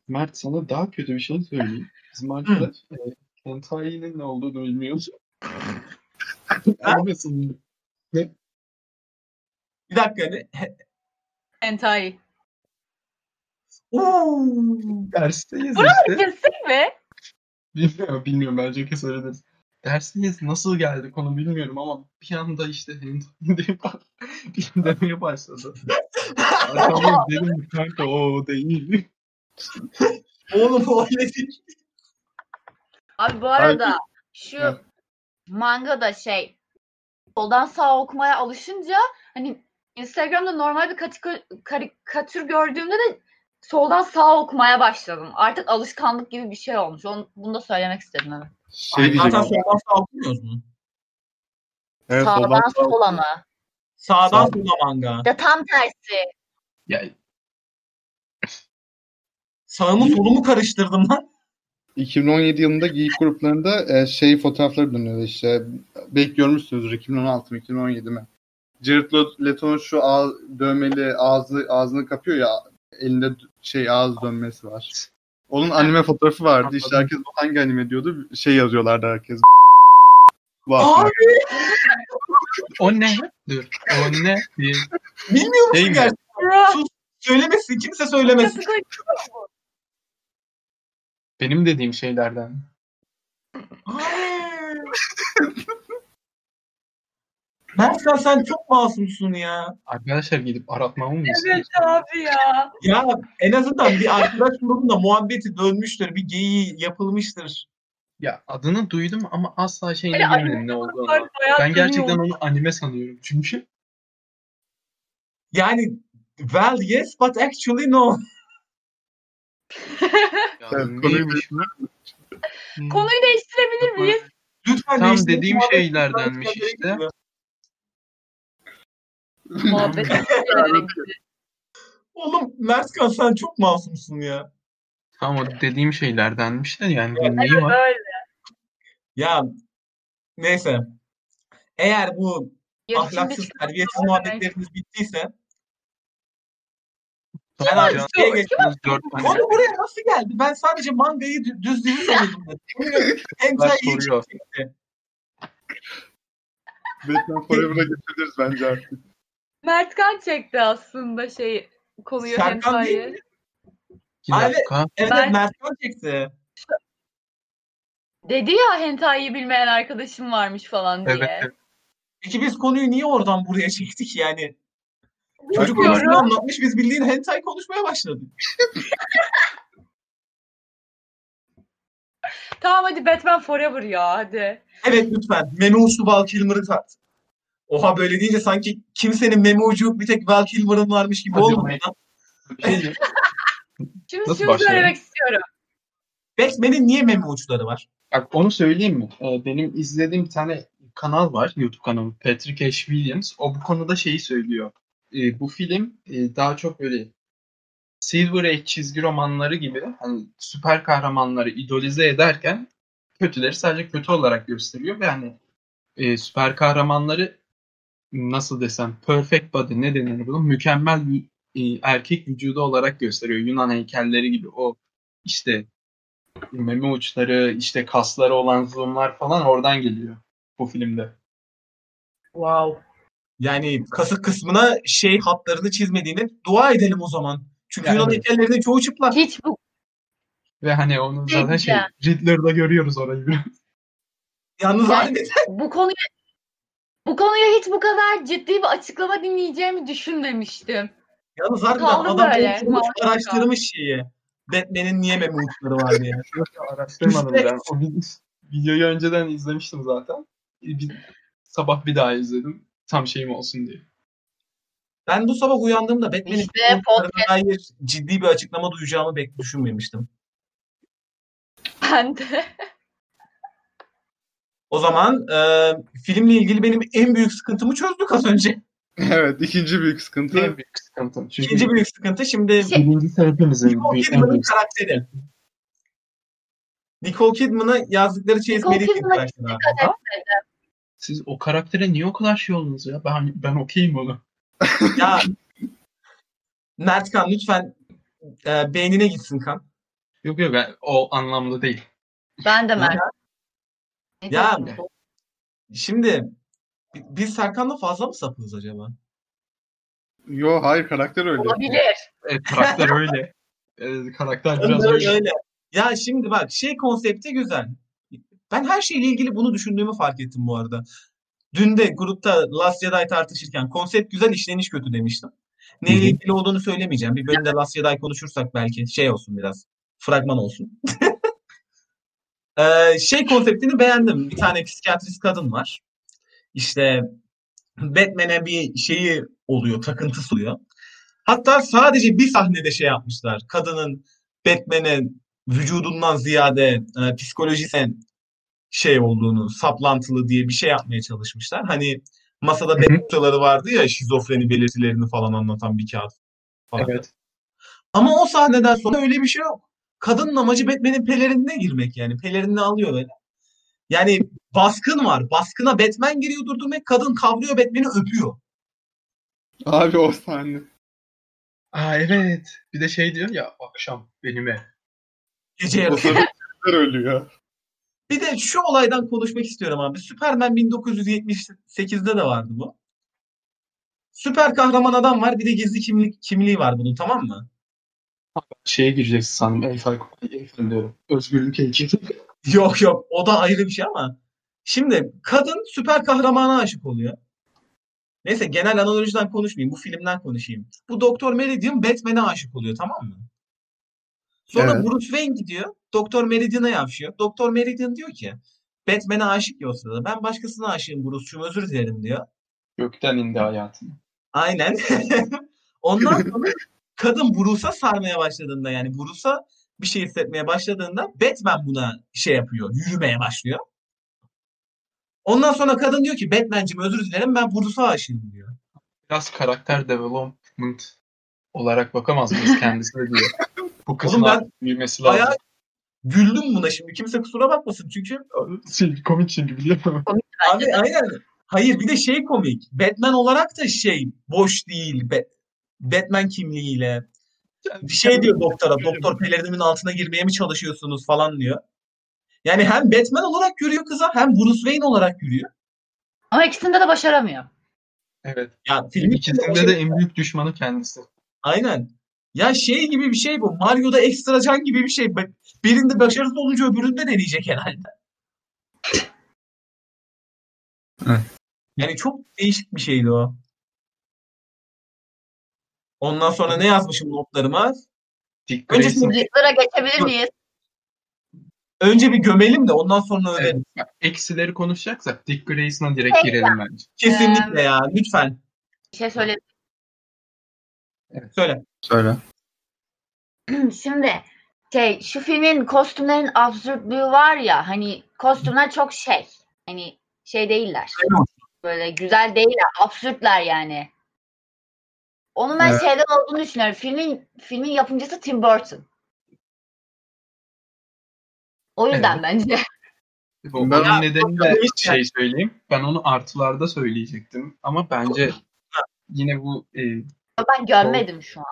Speaker 5: Mert sana daha kötü bir şey söyleyeyim. Bizim arkadaş e, Hentai'nin ne olduğunu bilmiyor. Anlasın.
Speaker 1: Bir dakika hani. he-
Speaker 3: Hentai.
Speaker 1: Oo.
Speaker 2: Dersteyiz işte.
Speaker 3: Kesin mi?
Speaker 2: Bilmiyorum, bilmiyorum. Bence kesebiliriz. Dersteyiz nasıl geldi konu bilmiyorum ama bir anda işte hentai deyip bir demeye başladı. Arkamda dedim ki, kanka o değil.
Speaker 1: Oğlum o öyle değil.
Speaker 3: Abi bu arada şu manga da şey soldan sağa okumaya alışınca hani Instagram'da normal bir katik- karikatür gördüğümde de soldan sağa okumaya başladım. Artık alışkanlık gibi bir şey olmuş. Onu, bunu da söylemek istedim. Evet.
Speaker 4: Şey diyeceğim.
Speaker 1: Zaten soldan sağa okumuyoruz mu?
Speaker 4: Evet,
Speaker 3: Sağdan
Speaker 4: ondan sonra-
Speaker 3: sola mı?
Speaker 1: Sağdan sola manga.
Speaker 3: Ya tam tersi.
Speaker 2: Ya
Speaker 1: Sağımı solumu karıştırdım lan.
Speaker 4: 2017 yılında geyik gruplarında e, şey fotoğrafları dönüyordu işte. Belki görmüşsünüzdür 2016 mı 2017 mi? Jared Lo- Leto'nun şu ağ- dövmeli ağzı ağzını kapıyor ya elinde d- şey ağız dönmesi var. Onun anime fotoğrafı vardı. İşte
Speaker 2: Anladım.
Speaker 4: herkes bu hangi anime diyordu. Şey yazıyorlardı herkes. Var.
Speaker 1: Abi
Speaker 2: o ne? Dur. O ne? diye.
Speaker 1: bilmiyorum
Speaker 2: Değil
Speaker 1: ki
Speaker 2: mi?
Speaker 1: gerçekten. Söylemesin kimse söylemesin.
Speaker 2: Benim dediğim şeylerden.
Speaker 1: Hayır. Mersan sen çok masumsun ya.
Speaker 2: Arkadaşlar gidip aratmamı mı
Speaker 3: Evet
Speaker 2: istiyorsunuz?
Speaker 3: şey abi ya.
Speaker 1: Ya en azından bir arkadaş grubunda muhabbeti dönmüştür. Bir geyiği yapılmıştır.
Speaker 2: Ya adını duydum ama asla şeyini
Speaker 3: Böyle
Speaker 2: bilmiyorum ne olduğunu. Ben gerçekten onu anime sanıyorum çünkü.
Speaker 1: Yani well yes but actually no.
Speaker 2: Ya
Speaker 4: Evet,
Speaker 2: neymiş
Speaker 4: konuymuş.
Speaker 2: bu? Hmm.
Speaker 3: Konuyu değiştirebilir miyiz?
Speaker 1: Lütfen
Speaker 2: Tam
Speaker 1: değiştirin.
Speaker 2: dediğim
Speaker 1: Muhabbeti
Speaker 2: şeylerdenmiş
Speaker 1: dönmüştür.
Speaker 2: işte.
Speaker 3: Muhabbet
Speaker 1: Oğlum Mertkan sen çok masumsun ya.
Speaker 2: Ama dediğim şeylerdenmiş de yani bunun neyi var?
Speaker 3: böyle.
Speaker 1: Ya neyse. Eğer bu ahlaksız terbiyesiz muhabbetleriniz bittiyse
Speaker 2: Tamam,
Speaker 1: Ben abi
Speaker 2: can-
Speaker 1: şeye geçtim.
Speaker 2: Yaptığınız dört tane
Speaker 1: Konu buraya nasıl geldi? Ben sadece mangayı dü- düz dizi sanıyordum. ben. Bilmiyorum. Hentai
Speaker 2: Bunlar
Speaker 1: iyi
Speaker 2: soruyor.
Speaker 4: Batman Forever'a getiririz bence artık.
Speaker 3: Mertkan çekti aslında şey konuyu
Speaker 1: Serkan değil
Speaker 3: hentai'ye.
Speaker 1: mi?
Speaker 2: İki
Speaker 1: Abi-
Speaker 2: dakika.
Speaker 1: Evet
Speaker 3: Ben-
Speaker 1: Mertcan çekti.
Speaker 3: Dedi ya hentai'yi bilmeyen arkadaşım varmış falan diye.
Speaker 2: Evet. evet.
Speaker 1: Peki biz konuyu niye oradan buraya çektik yani? Çocuk
Speaker 3: Bilmiyorum.
Speaker 1: konusunu anlatmış biz bildiğin hentai konuşmaya başladık.
Speaker 3: Tamam hadi Batman Forever ya hadi.
Speaker 1: Evet lütfen. Meme uçlu Val Kilmer'ı tart. Oha böyle deyince sanki kimsenin meme ucu yok bir tek Val Kilmer'ın varmış gibi
Speaker 2: Hadi
Speaker 1: olmuyor
Speaker 2: be.
Speaker 1: lan.
Speaker 2: Bir şey diyeyim.
Speaker 3: Şimdi
Speaker 2: Nasıl
Speaker 3: şunu
Speaker 2: başlayalım?
Speaker 3: söylemek istiyorum.
Speaker 1: Batman'in niye meme uçları var?
Speaker 2: Bak onu söyleyeyim mi? Ee, benim izlediğim bir tane kanal var. YouTube kanalı. Patrick Ash Williams. O bu konuda şeyi söylüyor. Ee, bu film e, daha çok böyle Silver Age çizgi romanları gibi hani süper kahramanları idolize ederken kötüleri sadece kötü olarak gösteriyor ve hani e, süper kahramanları nasıl desem perfect body ne denir bunun mükemmel bir e, erkek vücudu olarak gösteriyor. Yunan heykelleri gibi o işte meme uçları, işte kasları olan zoomlar falan oradan geliyor bu filmde.
Speaker 3: Wow.
Speaker 1: Yani kasık kısmına şey hatlarını çizmediğine dua edelim o zaman. Çünkü
Speaker 2: Yani
Speaker 1: Yunan
Speaker 2: evet.
Speaker 1: heykellerinin çoğu çıplak.
Speaker 3: Hiç bu
Speaker 2: Ve hani onun
Speaker 3: Peki
Speaker 2: zaten şey
Speaker 3: ya.
Speaker 2: Riddler'da görüyoruz orayı biraz.
Speaker 1: Yalnız
Speaker 3: Yani-
Speaker 1: halinde
Speaker 3: bu konuya bu konuya hiç bu kadar ciddi bir açıklama dinleyeceğimi düşünmemiştim.
Speaker 1: Yalnız harbiden
Speaker 3: Kaldı
Speaker 1: adam
Speaker 3: böyle,
Speaker 1: oturmuş,
Speaker 3: maalesef.
Speaker 1: araştırmış şeyi. Batman'in niye meme uçları var diye.
Speaker 2: Araştırmadım
Speaker 1: İşte-
Speaker 2: ben. O vid- videoyu önceden izlemiştim zaten. Bir, sabah bir daha izledim. Tam şeyim olsun diye.
Speaker 1: Ben bu sabah uyandığımda Batman'in
Speaker 3: İşte
Speaker 1: meme uçlarına dair ciddi bir açıklama duyacağımı bek düşünmemiştim.
Speaker 3: Ben de.
Speaker 1: O zaman e, filmle ilgili benim en büyük sıkıntımı çözdük az önce.
Speaker 4: evet ikinci büyük sıkıntı.
Speaker 2: Tabii büyük sıkıntı. Çünkü
Speaker 1: İkinci büyük sıkıntı şimdi
Speaker 3: Şey-
Speaker 2: birinci sebebimizin
Speaker 1: Nicole
Speaker 2: büyük en
Speaker 1: Kidman'ın
Speaker 2: büyük
Speaker 1: karakteri. Nicole Kidman'a yazdıkları çeyiz
Speaker 3: Nicole
Speaker 1: Melih'in
Speaker 3: Kidman'a
Speaker 1: karakteri abi.
Speaker 2: Siz o karaktere niye o kadar şey oldunuz ya? Ben, ben okeyim onu.
Speaker 1: Ya Mertkan lütfen e, beynine gitsin kan.
Speaker 2: Yok yok ben, o anlamda değil.
Speaker 3: Ben de Mert.
Speaker 1: Ya. Şimdi bi- biz Serkan'la fazla mı sapığız acaba?
Speaker 4: Yo hayır karakter öyle.
Speaker 3: Olabilir.
Speaker 2: Evet, karakter öyle. Evet, karakter biraz
Speaker 1: Öyle
Speaker 2: öyle.
Speaker 1: öyle. Ya şimdi bak şey konsepti güzel. Ben her şeyle ilgili bunu düşündüğümü fark ettim bu arada. Dün de grupta Last Jedi tartışırken konsept güzel işleniş kötü demiştim. Neyle
Speaker 2: Hı hı.
Speaker 1: ilgili olduğunu söylemeyeceğim. Bir bölümde Last Jedi konuşursak belki şey olsun biraz. Fragman olsun. Ee, şey konseptini beğendim. Bir tane psikiyatrist kadın var. İşte Batman'e bir şeyi oluyor, takıntısı oluyor. Hatta sadece bir sahnede şey yapmışlar. Kadının Batman'in vücudundan ziyade e, psikolojisel şey olduğunu, saplantılı diye bir şey yapmaya çalışmışlar. Hani masada
Speaker 2: hı.
Speaker 1: belirtileri vardı ya şizofreni belirtilerini falan anlatan bir kağıt. Falan.
Speaker 2: Evet.
Speaker 1: Ama o sahneden sonra öyle bir şey yok. Kadının amacı Batman'in pelerinine girmek yani. Pelerini alıyor böyle. Yani baskın var. Baskına Batman giriyor durdurmak. Kadın kavruyor Batman'i öpüyor.
Speaker 4: Abi o sahne.
Speaker 2: Aa evet. Bir de şey diyor ya akşam benime.
Speaker 1: Gece yarısı.
Speaker 4: Karakter ölüyor.
Speaker 1: Bir de şu olaydan konuşmak istiyorum abi. Superman 1978'de de vardı bu. Süper kahraman adam var bir de gizli kimlik kimliği var bunun tamam mı?
Speaker 2: Şeye gireceksin sanırım. Eyfel, Eyfel diyorum. Özgürlük elçisi.
Speaker 1: Yok yok o da ayrı bir şey ama. Şimdi kadın süper kahramana aşık oluyor. Neyse genel analojiden konuşmayayım. Bu filmden konuşayım. Bu Doktor Meridian Batman'e aşık oluyor tamam mı? Sonra
Speaker 4: Evet.
Speaker 1: Bruce Wayne gidiyor. Doktor Meridian'a yavşıyor. Doktor Meridian diyor ki Batman'e aşık ya o sırada. Ben başkasına aşığım Bruce'cum özür dilerim diyor.
Speaker 2: Gökten indi hayatına.
Speaker 1: Aynen. Ondan sonra kadın Bruce'a sarmaya başladığında yani Bruce'a bir şey hissetmeye başladığında Batman buna şey yapıyor, yürümeye başlıyor. Ondan sonra kadın diyor ki Batman'cim özür dilerim ben Bruce'a aşığım diyor.
Speaker 2: Biraz karakter development olarak bakamaz mıyız kendisine diyor. Bu kızın
Speaker 1: Oğlum ben
Speaker 2: artık büyümesi lazım.
Speaker 1: Bayağı güldüm buna şimdi kimse kusura bakmasın çünkü
Speaker 2: Şey, komik çünkü biliyor musun?
Speaker 1: abi aynen hayır bir de şey komik Batman olarak da şey boş değil Ba- Batman kimliğiyle bir şey diyor doktora. Doktor pelerinimin altına girmeye mi çalışıyorsunuz falan diyor. Yani hem Batman olarak görüyor kıza hem Bruce Wayne olarak görüyor.
Speaker 3: Ama ikisinde de başaramıyor.
Speaker 2: Evet.
Speaker 1: Ya film şey
Speaker 2: İkisinde de en büyük düşmanı kendisi.
Speaker 1: Aynen. Ya şey gibi bir şey bu. Mario'da ekstra can gibi bir şey. Bak, Birinde başarısız olunca öbüründe deneyecek herhalde.
Speaker 4: Evet.
Speaker 1: Yani çok değişik bir şeydi o. Ondan sonra ne yazmışım notlarıma?
Speaker 2: Dick
Speaker 1: Önce
Speaker 2: Grayson.
Speaker 3: Zıtlara geçebilir miyiz?
Speaker 1: Önce bir gömelim de ondan sonra öyle.
Speaker 2: Evet, bak, eksileri konuşacaksak Dick Grayson'a direkt girelim bence.
Speaker 1: Kesinlikle ya lütfen.
Speaker 3: Bir şey söyle.
Speaker 1: Söyle.
Speaker 4: Söyle.
Speaker 3: Şimdi şey şu filmin kostümlerin absürtlüğü var ya hani kostümler çok şey. Hani şey değiller.
Speaker 1: Aynen.
Speaker 3: Böyle güzel değiller. Absürtler yani. Onu ben
Speaker 4: Evet.
Speaker 3: şeyden olduğunu düşünüyorum. Filmin filmin yapımcısı Tim Burton. O yüzden bence.
Speaker 2: Bu
Speaker 4: Ben-
Speaker 2: onun nedeni de
Speaker 1: Hiç-
Speaker 2: şey söyleyeyim. Ben onu artılarda söyleyecektim. Ama bence yine bu e,
Speaker 3: Ben görmedim şu an.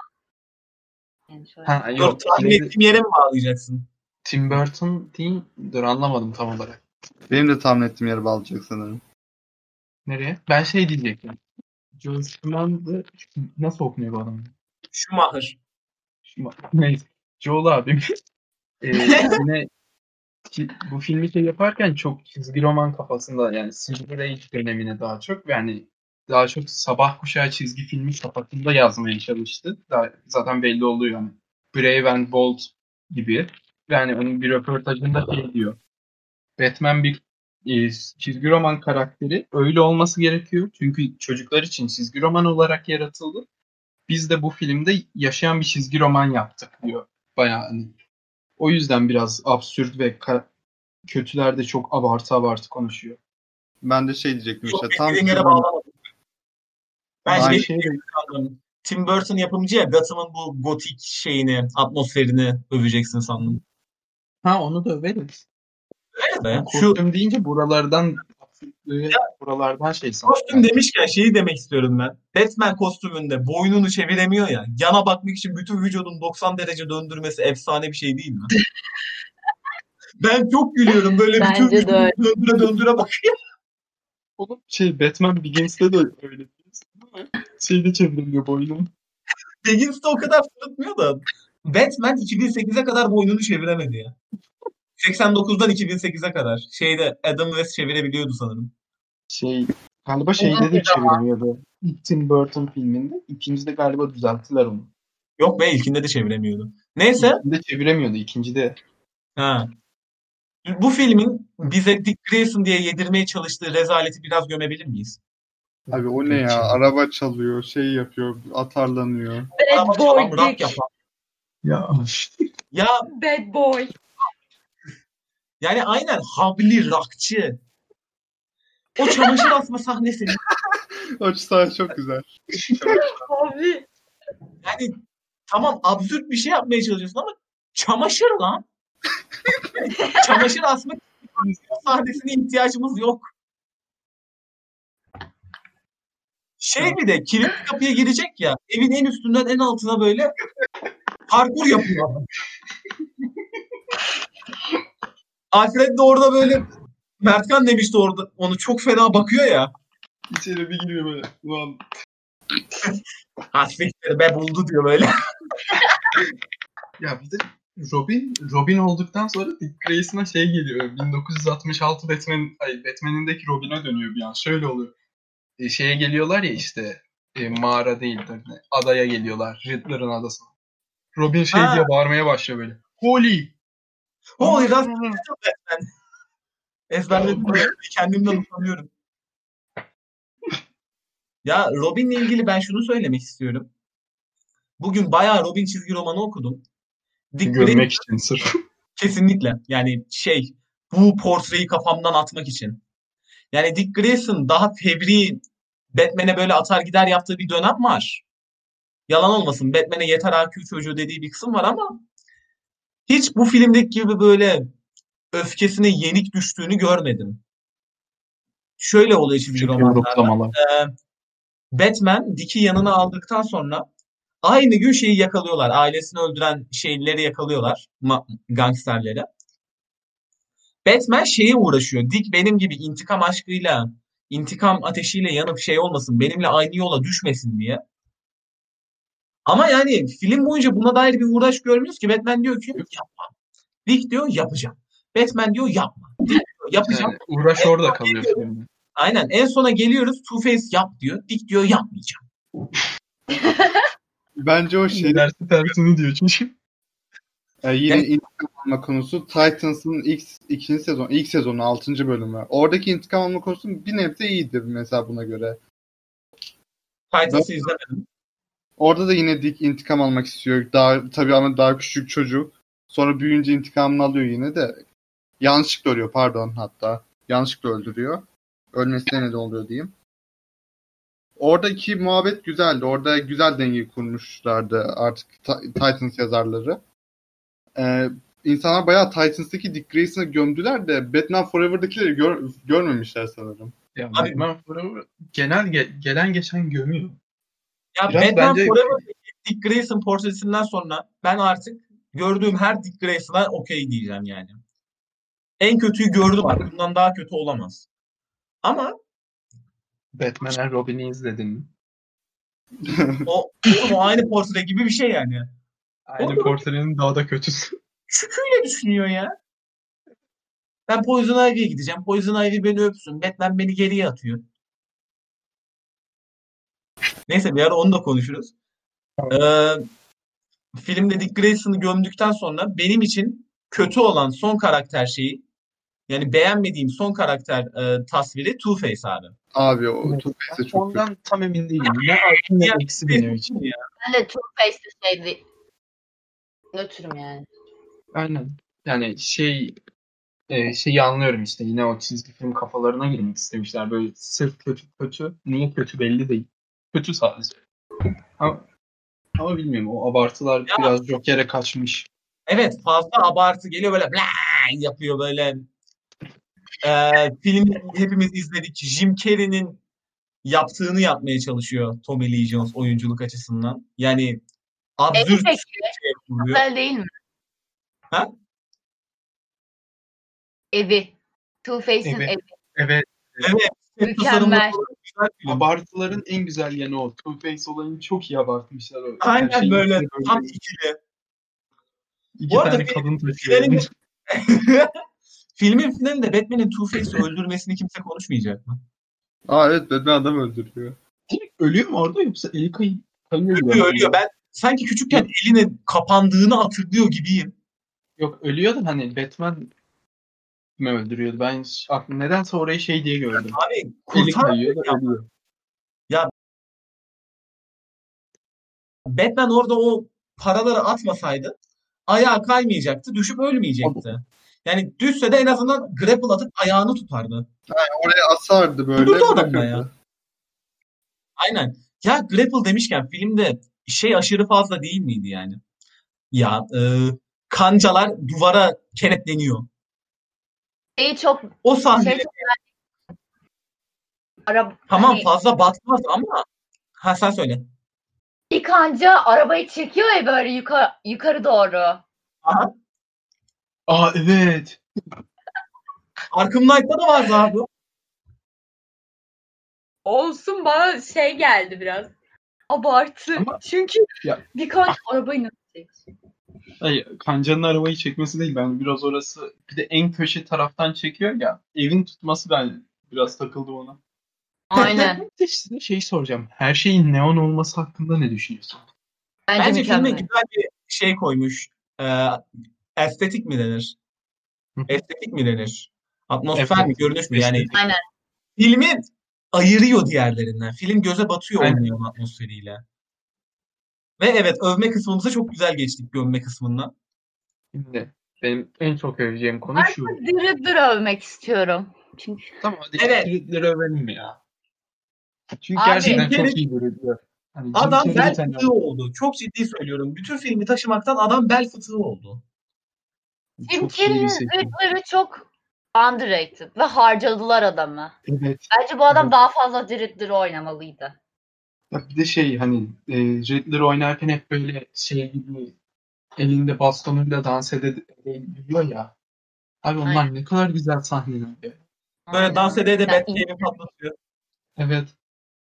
Speaker 3: Yani şöyle.
Speaker 2: ha, yok,
Speaker 1: Yok tahmin
Speaker 2: neydi?
Speaker 1: ettiğim yere mi bağlayacaksın?
Speaker 2: Tim Burton değil. Dur anlamadım tam olarak.
Speaker 4: Benim de tahmin ettiğim yere bağlayacak sanırım.
Speaker 2: Nereye? Ben şey diyecektim. Joe Schumann nasıl okunuyor bu adam?
Speaker 1: Schumacher.
Speaker 2: Schumacher. Neyse. Joel abim. e, yine ki- bu filmi şey yaparken çok çizgi roman kafasında yani Silver Age dönemine daha çok yani daha çok sabah kuşağı çizgi filmi kafasında yazmaya çalıştı. Daha, zaten belli oluyor yani. Brave and Bold gibi. Yani onun bir röportajında şey diyor. Batman bir e, çizgi roman karakteri öyle olması gerekiyor. Çünkü çocuklar için çizgi roman olarak yaratıldı. Biz de bu filmde yaşayan bir çizgi roman yaptık diyor. Bayağı hani. O yüzden biraz absürt ve ka- kötüler de çok abartı abartı konuşuyor.
Speaker 4: Ben de şey diyecektim
Speaker 1: Çok
Speaker 4: işte.
Speaker 1: işte,
Speaker 4: Tam
Speaker 1: yere
Speaker 4: Tim-
Speaker 1: bağlamadım. Bence
Speaker 4: Aynı
Speaker 1: benim dediğim sandım. Tim Burton yapımcı ya Gotham'ın bu gotik şeyini, atmosferini öveceksin sandım.
Speaker 2: Ha onu da överiz.
Speaker 1: Evet be. Şu
Speaker 2: Kostüm deyince buralardan absürtlüğe, buralardan şey sandım.
Speaker 1: kostüm demişken şeyi demek istiyorum ben. Batman kostümünde boynunu çeviremiyor ya. Yana bakmak için bütün vücudun 90 derece döndürmesi efsane bir şey değil mi? ben çok gülüyorum böyle bütün
Speaker 3: Bence de
Speaker 1: vücudunu döndüre döndüre bak.
Speaker 2: Oğlum şey Batman Begins'te de öyle diyorsun değil mi? Şeyde çevriliyor boynum.
Speaker 1: Begins de o kadar fırlatmıyor da. Batman 2008'e kadar boynunu çeviremedi ya. 89'dan 2008'e kadar. Şeyde Adam West çevirebiliyordu sanırım.
Speaker 2: Şey galiba şeyde de çevriliyordu. İlk Tim Burton filminde. İkincide galiba düzelttiler onu.
Speaker 1: Yok be ilkinde de çeviremiyordu. Neyse.
Speaker 2: İlkinde çeviremiyordu. ikincide.
Speaker 1: Ha. Bu filmin bize Dick Grayson diye yedirmeye çalıştığı rezaleti biraz gömebilir miyiz?
Speaker 4: Abi o ne ya? Araba çalıyor, şey yapıyor, atarlanıyor.
Speaker 1: Araba
Speaker 3: Bad
Speaker 1: çalan
Speaker 3: boy
Speaker 1: rap
Speaker 3: dick.
Speaker 1: yapan.
Speaker 2: Ya
Speaker 1: Ya
Speaker 3: Bad boy.
Speaker 1: yani aynen havli rakçı. O çamaşır asma sahnesi.
Speaker 4: O sahne çok güzel.
Speaker 3: Abi.
Speaker 1: Yani tamam absürt bir şey yapmaya çalışıyorsun ama çamaşır lan. çamaşır asma sahnesine ihtiyacımız yok. Şey bir de kilit kapıya girecek ya. Evin en üstünden en altına böyle parkur yapıyor. adam. Alfred de orada böyle Mertkan demişti orada. Onu çok fena bakıyor ya.
Speaker 2: içeri bir giriyor böyle. Ulan
Speaker 1: Hasbikleri be buldu diyor böyle.
Speaker 2: Ya bir de Robin, Robin olduktan sonra Dick Grayson'a şey geliyor. 1966 Batman, ay Batman'indeki Robin'e dönüyor bir an. Şöyle oluyor. E, şeye geliyorlar ya işte e, mağara değil tabii. de, Adaya geliyorlar. Riddler'ın adasına. Robin şey
Speaker 1: Ha.
Speaker 2: diye bağırmaya başlıyor böyle. Holy!
Speaker 1: Holy that's Ezberledim de kendimden utanıyorum. Ya Robin'le ilgili ben şunu söylemek istiyorum. Bugün bayağı Robin çizgi romanı okudum. Dick Grayson
Speaker 2: Görmek için sırf.
Speaker 1: kesinlikle yani şey bu portreyi kafamdan atmak için. Yani Dick Grayson daha fevri Batman'e böyle atar gider yaptığı bir dönem var. Yalan olmasın Batman'e yeter IQ çocuğu dediği bir kısım var ama hiç bu filmdeki gibi böyle öfkesine yenik düştüğünü görmedim. Şöyle oluyor çizgi romanlarda.
Speaker 2: Yoruklamalar.
Speaker 1: Batman Dick'i yanına aldıktan sonra aynı gün şeyi yakalıyorlar. Ailesini öldüren şeyleri yakalıyorlar. ma- gangsterleri. Batman şeye uğraşıyor. Dick benim gibi intikam aşkıyla, intikam ateşiyle yanıp şey olmasın, benimle aynı yola düşmesin diye. Ama yani film boyunca buna dair bir uğraş görmüyoruz ki. Batman diyor ki yapma. Dick diyor yapacağım. Batman diyor yapma. Dick diyor yapacağım.
Speaker 2: Yani uğraş orada kalıyor filmde.
Speaker 1: Aynen. En sona geliyoruz. Two Face yap diyor. Dick diyor yapmayacağım.
Speaker 4: Bence o şey
Speaker 2: şey Dersi tersini diyor çünkü.
Speaker 4: Ee, şey, yine
Speaker 1: Yani-
Speaker 4: intikam alma konusu Titans'ın ilk ikinci sezon, ilk sezonun 6. bölümü. Oradaki intikam alma konusu bir nebze iyidir mesela buna göre.
Speaker 1: Titans'ı izlemedim.
Speaker 4: Orada da yine Dick intikam almak istiyor. Daha tabii ama daha küçük çocuk. Sonra büyüyünce intikamını alıyor yine de. Yanlışlıkla ölüyor pardon hatta. Yanlışlıkla öldürüyor. Ölmesine neden oluyor diyeyim. Oradaki muhabbet güzeldi. Orada güzel denge kurmuşlardı artık Ta- Titans yazarları. Ee, insanlar bayağı Titans'taki Dick Grayson'a gömdüler de Batman Forever'dakileri gör- görmemişler sanırım.
Speaker 2: Ya
Speaker 1: Abi-
Speaker 2: Batman Forever genel ge- gelen geçen gömüyor.
Speaker 1: Ya
Speaker 2: Biraz
Speaker 1: Batman
Speaker 2: bence-
Speaker 1: Forever Dick Grayson portresinden sonra ben artık gördüğüm her Dick Grayson'a okey diyeceğim yani. En kötüyü gördüm artık. Bundan daha kötü olamaz. Ama
Speaker 2: Batman and Robin'i izledin mi?
Speaker 1: o, o aynı portre gibi bir şey yani.
Speaker 2: Aynı
Speaker 1: Oğlum.
Speaker 2: portrenin daha da kötüsü.
Speaker 1: şükrüyle düşünüyor ya. Ben Poison Ivy'ye gideceğim. Poison Ivy beni öpsün. Batman beni geriye atıyor. Neyse bir ara onu da konuşuruz. Ee, filmde Dick Grayson'ı gömdükten sonra benim için kötü olan son karakter şeyi yani beğenmediğim son karakter e, tasviri Two-Face abi.
Speaker 4: Abi o
Speaker 2: Evet.
Speaker 4: Two-Face de çok
Speaker 2: Ondan tam emin değilim. Ne artı ne
Speaker 1: Ya,
Speaker 2: eksi benim için.
Speaker 1: Ya.
Speaker 3: Ben de Two Face'li şeydi. Nötrüm yani.
Speaker 2: Aynen. Yani şey e, şeyi anlıyorum işte. Yine o çizgi film kafalarına girmek istemişler. Böyle sırf kötü kötü. Niye kötü belli değil. Kötü sadece. Ama, ama bilmiyorum. O abartılar
Speaker 1: Ya.
Speaker 2: biraz Joker'e kaçmış.
Speaker 1: Evet fazla abartı geliyor böyle bla yapıyor böyle. Ee, film hepimiz izledik. Jim Carrey'nin yaptığını yapmaya çalışıyor Tommy Lee Jones oyunculuk açısından. Yani absürt
Speaker 3: Peki,
Speaker 1: şey yapılıyor.
Speaker 3: güzel değil mi?
Speaker 1: Ha?
Speaker 3: Evi. Two Face'in
Speaker 2: Evi.
Speaker 3: evi.
Speaker 2: Evet.
Speaker 1: Evet. set tasarımları
Speaker 3: Mükemmel.
Speaker 1: falan güzel film.
Speaker 2: Abartıların en güzel yanı o. Two Face olayını çok iyi abartmışlar. O. Her
Speaker 1: Aynen
Speaker 2: şeyin
Speaker 1: böyle
Speaker 2: içine
Speaker 1: tam
Speaker 2: böyle
Speaker 1: ikili.
Speaker 2: iki
Speaker 1: Bu arada
Speaker 2: tane
Speaker 1: bir- şey-
Speaker 2: kadın taşıyor.
Speaker 1: Filmin finalinde Batman'in Two-Face'i öldürmesini kimse konuşmayacak mı?
Speaker 4: Aa evet Batman adam öldürüyor.
Speaker 2: Direkt ölüyor mu orada yoksa eli kayıyor? kayıyor mu?
Speaker 1: Ölüyor ölüyor. Ben sanki küçükken eline kapandığını hatırlıyor gibiyim.
Speaker 2: Yok ölüyor da hani Batman mi öldürüyordu? Ben hiç- aklım nedense orayı şey diye gördüm.
Speaker 1: Abi
Speaker 2: Eli
Speaker 1: kurtar
Speaker 2: kayıyor da ölüyor.
Speaker 1: Batman orada o paraları atmasaydı ayağı kaymayacaktı, düşüp ölmeyecekti. Yani düşse de en azından grapple atıp ayağını tutardı.
Speaker 4: Oraya asardı böyle.
Speaker 1: Durdu adam
Speaker 4: bırakırdı.
Speaker 1: ya. Aynen. Ya grapple demişken filmde şey aşırı fazla değil miydi yani? Ya e, kancalar duvara kenetleniyor.
Speaker 3: Şeyi çok
Speaker 1: O sahne
Speaker 3: şey çok Araba,
Speaker 1: tamam
Speaker 3: hani
Speaker 1: fazla batmaz ama ha sen söyle.
Speaker 3: bir kanca arabayı çekiyor ya böyle yukarı, yukarı doğru.
Speaker 2: Aa evet.
Speaker 1: Arkham Knight'ta da vardı abi.
Speaker 3: Olsun bana şey geldi biraz. Abartı.
Speaker 2: Ama-
Speaker 3: Çünkü
Speaker 2: Ya-
Speaker 3: bir kanca arabayı nasıl çekecek?
Speaker 2: Ay, kancanın arabayı çekmesi değil. Ben biraz orası bir de en köşe taraftan çekiyor ya. Evin tutması ben biraz takıldım ona.
Speaker 3: Aynen.
Speaker 2: Ben de size şey soracağım. Her şeyin neon olması hakkında ne düşünüyorsun?
Speaker 3: Bence,
Speaker 1: Bence filme
Speaker 3: mükemmel.
Speaker 1: güzel bir şey koymuş. Ee, estetik mi denir?
Speaker 2: Hı.
Speaker 1: Estetik mi denir? Atmosfer mi?
Speaker 2: Estetik,
Speaker 1: Görünüş mü? Yani
Speaker 2: estetik.
Speaker 3: Aynen.
Speaker 1: filmi ayırıyor diğerlerinden. Film göze batıyor
Speaker 2: Aynen.
Speaker 1: olmuyor atmosferiyle. Ve evet övme kısmımıza çok güzel geçtik gömme kısmından.
Speaker 2: Şimdi benim en çok öveceğim konu şu.
Speaker 3: Artık dırı dırı övmek istiyorum. Çünkü
Speaker 2: Tamam hadi
Speaker 1: Evet.
Speaker 2: kilitleri övelim ya. Çünkü
Speaker 3: Abi,
Speaker 2: gerçekten
Speaker 1: Jim
Speaker 2: çok iyi görünüyor. Hani Jim
Speaker 1: Adam
Speaker 2: Carrey
Speaker 1: bel
Speaker 2: zaten-
Speaker 1: fıtığı oldu. Çok ciddi söylüyorum. Bütün filmi taşımaktan adam bel fıtığı oldu.
Speaker 3: Jim
Speaker 2: Çok iyi
Speaker 3: Carrey'in
Speaker 2: bir seçim.
Speaker 3: zırhları çok underrated ve harcadılar adamı.
Speaker 2: Evet.
Speaker 3: Bence bu adam
Speaker 2: Evet.
Speaker 3: daha fazla dırı dırı oynamalıydı.
Speaker 2: Ya bir de şey hani e, Riddler oynarken hep böyle şey gibi elinde bastonuyla dans edebiliyor ya. Abi onlar
Speaker 3: Aynen.
Speaker 2: ne kadar güzel sahneler. ya.
Speaker 1: Böyle
Speaker 3: Aynen.
Speaker 1: dans ede de
Speaker 3: Ya, iz-
Speaker 1: Batman'i patlatıyor.
Speaker 2: Evet.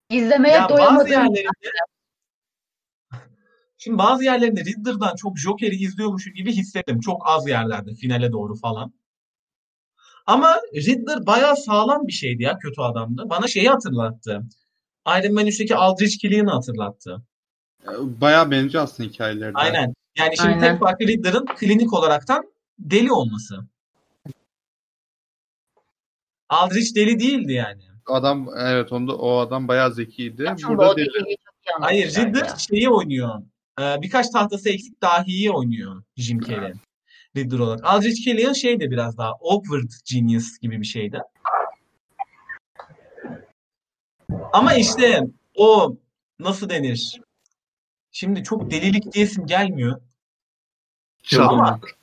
Speaker 3: İzlemeye
Speaker 1: ya bazı
Speaker 3: doyamadım.
Speaker 1: yerlerinde Şimdi bazı yerlerinde Riddler'dan çok Joker'i izliyormuşum gibi hissettim. Çok az yerlerde finale doğru falan. Ama Riddler bayağı sağlam bir şeydi ya kötü adamdı. Bana şeyi hatırlattı. Iron Man 3'teki Aldrich Killian'ı hatırlattı.
Speaker 4: Bayağı benziyor aslında hikayeleri. de.
Speaker 1: Aynen. Yani şimdi
Speaker 3: Aynen.
Speaker 1: tek farkı Riddler'ın klinik olaraktan deli olması. Aldrich deli değildi yani.
Speaker 4: Adam evet onda o adam bayağı zekiydi.
Speaker 3: Açın bu
Speaker 4: Burada
Speaker 3: o
Speaker 4: deli.
Speaker 3: deliği çok iyi anlatmışlar
Speaker 1: Hayır Riddler
Speaker 3: ya.
Speaker 1: şeyi oynuyor. Ee, birkaç tahtası eksik dahiyi oynuyor Jim Carrey. Riddler olarak. Aldrich Killian şey de biraz daha awkward genius gibi bir şey şeydi. Ama işte o nasıl denir? Şimdi çok delilik diyesim gelmiyor.
Speaker 2: Çılgınlık.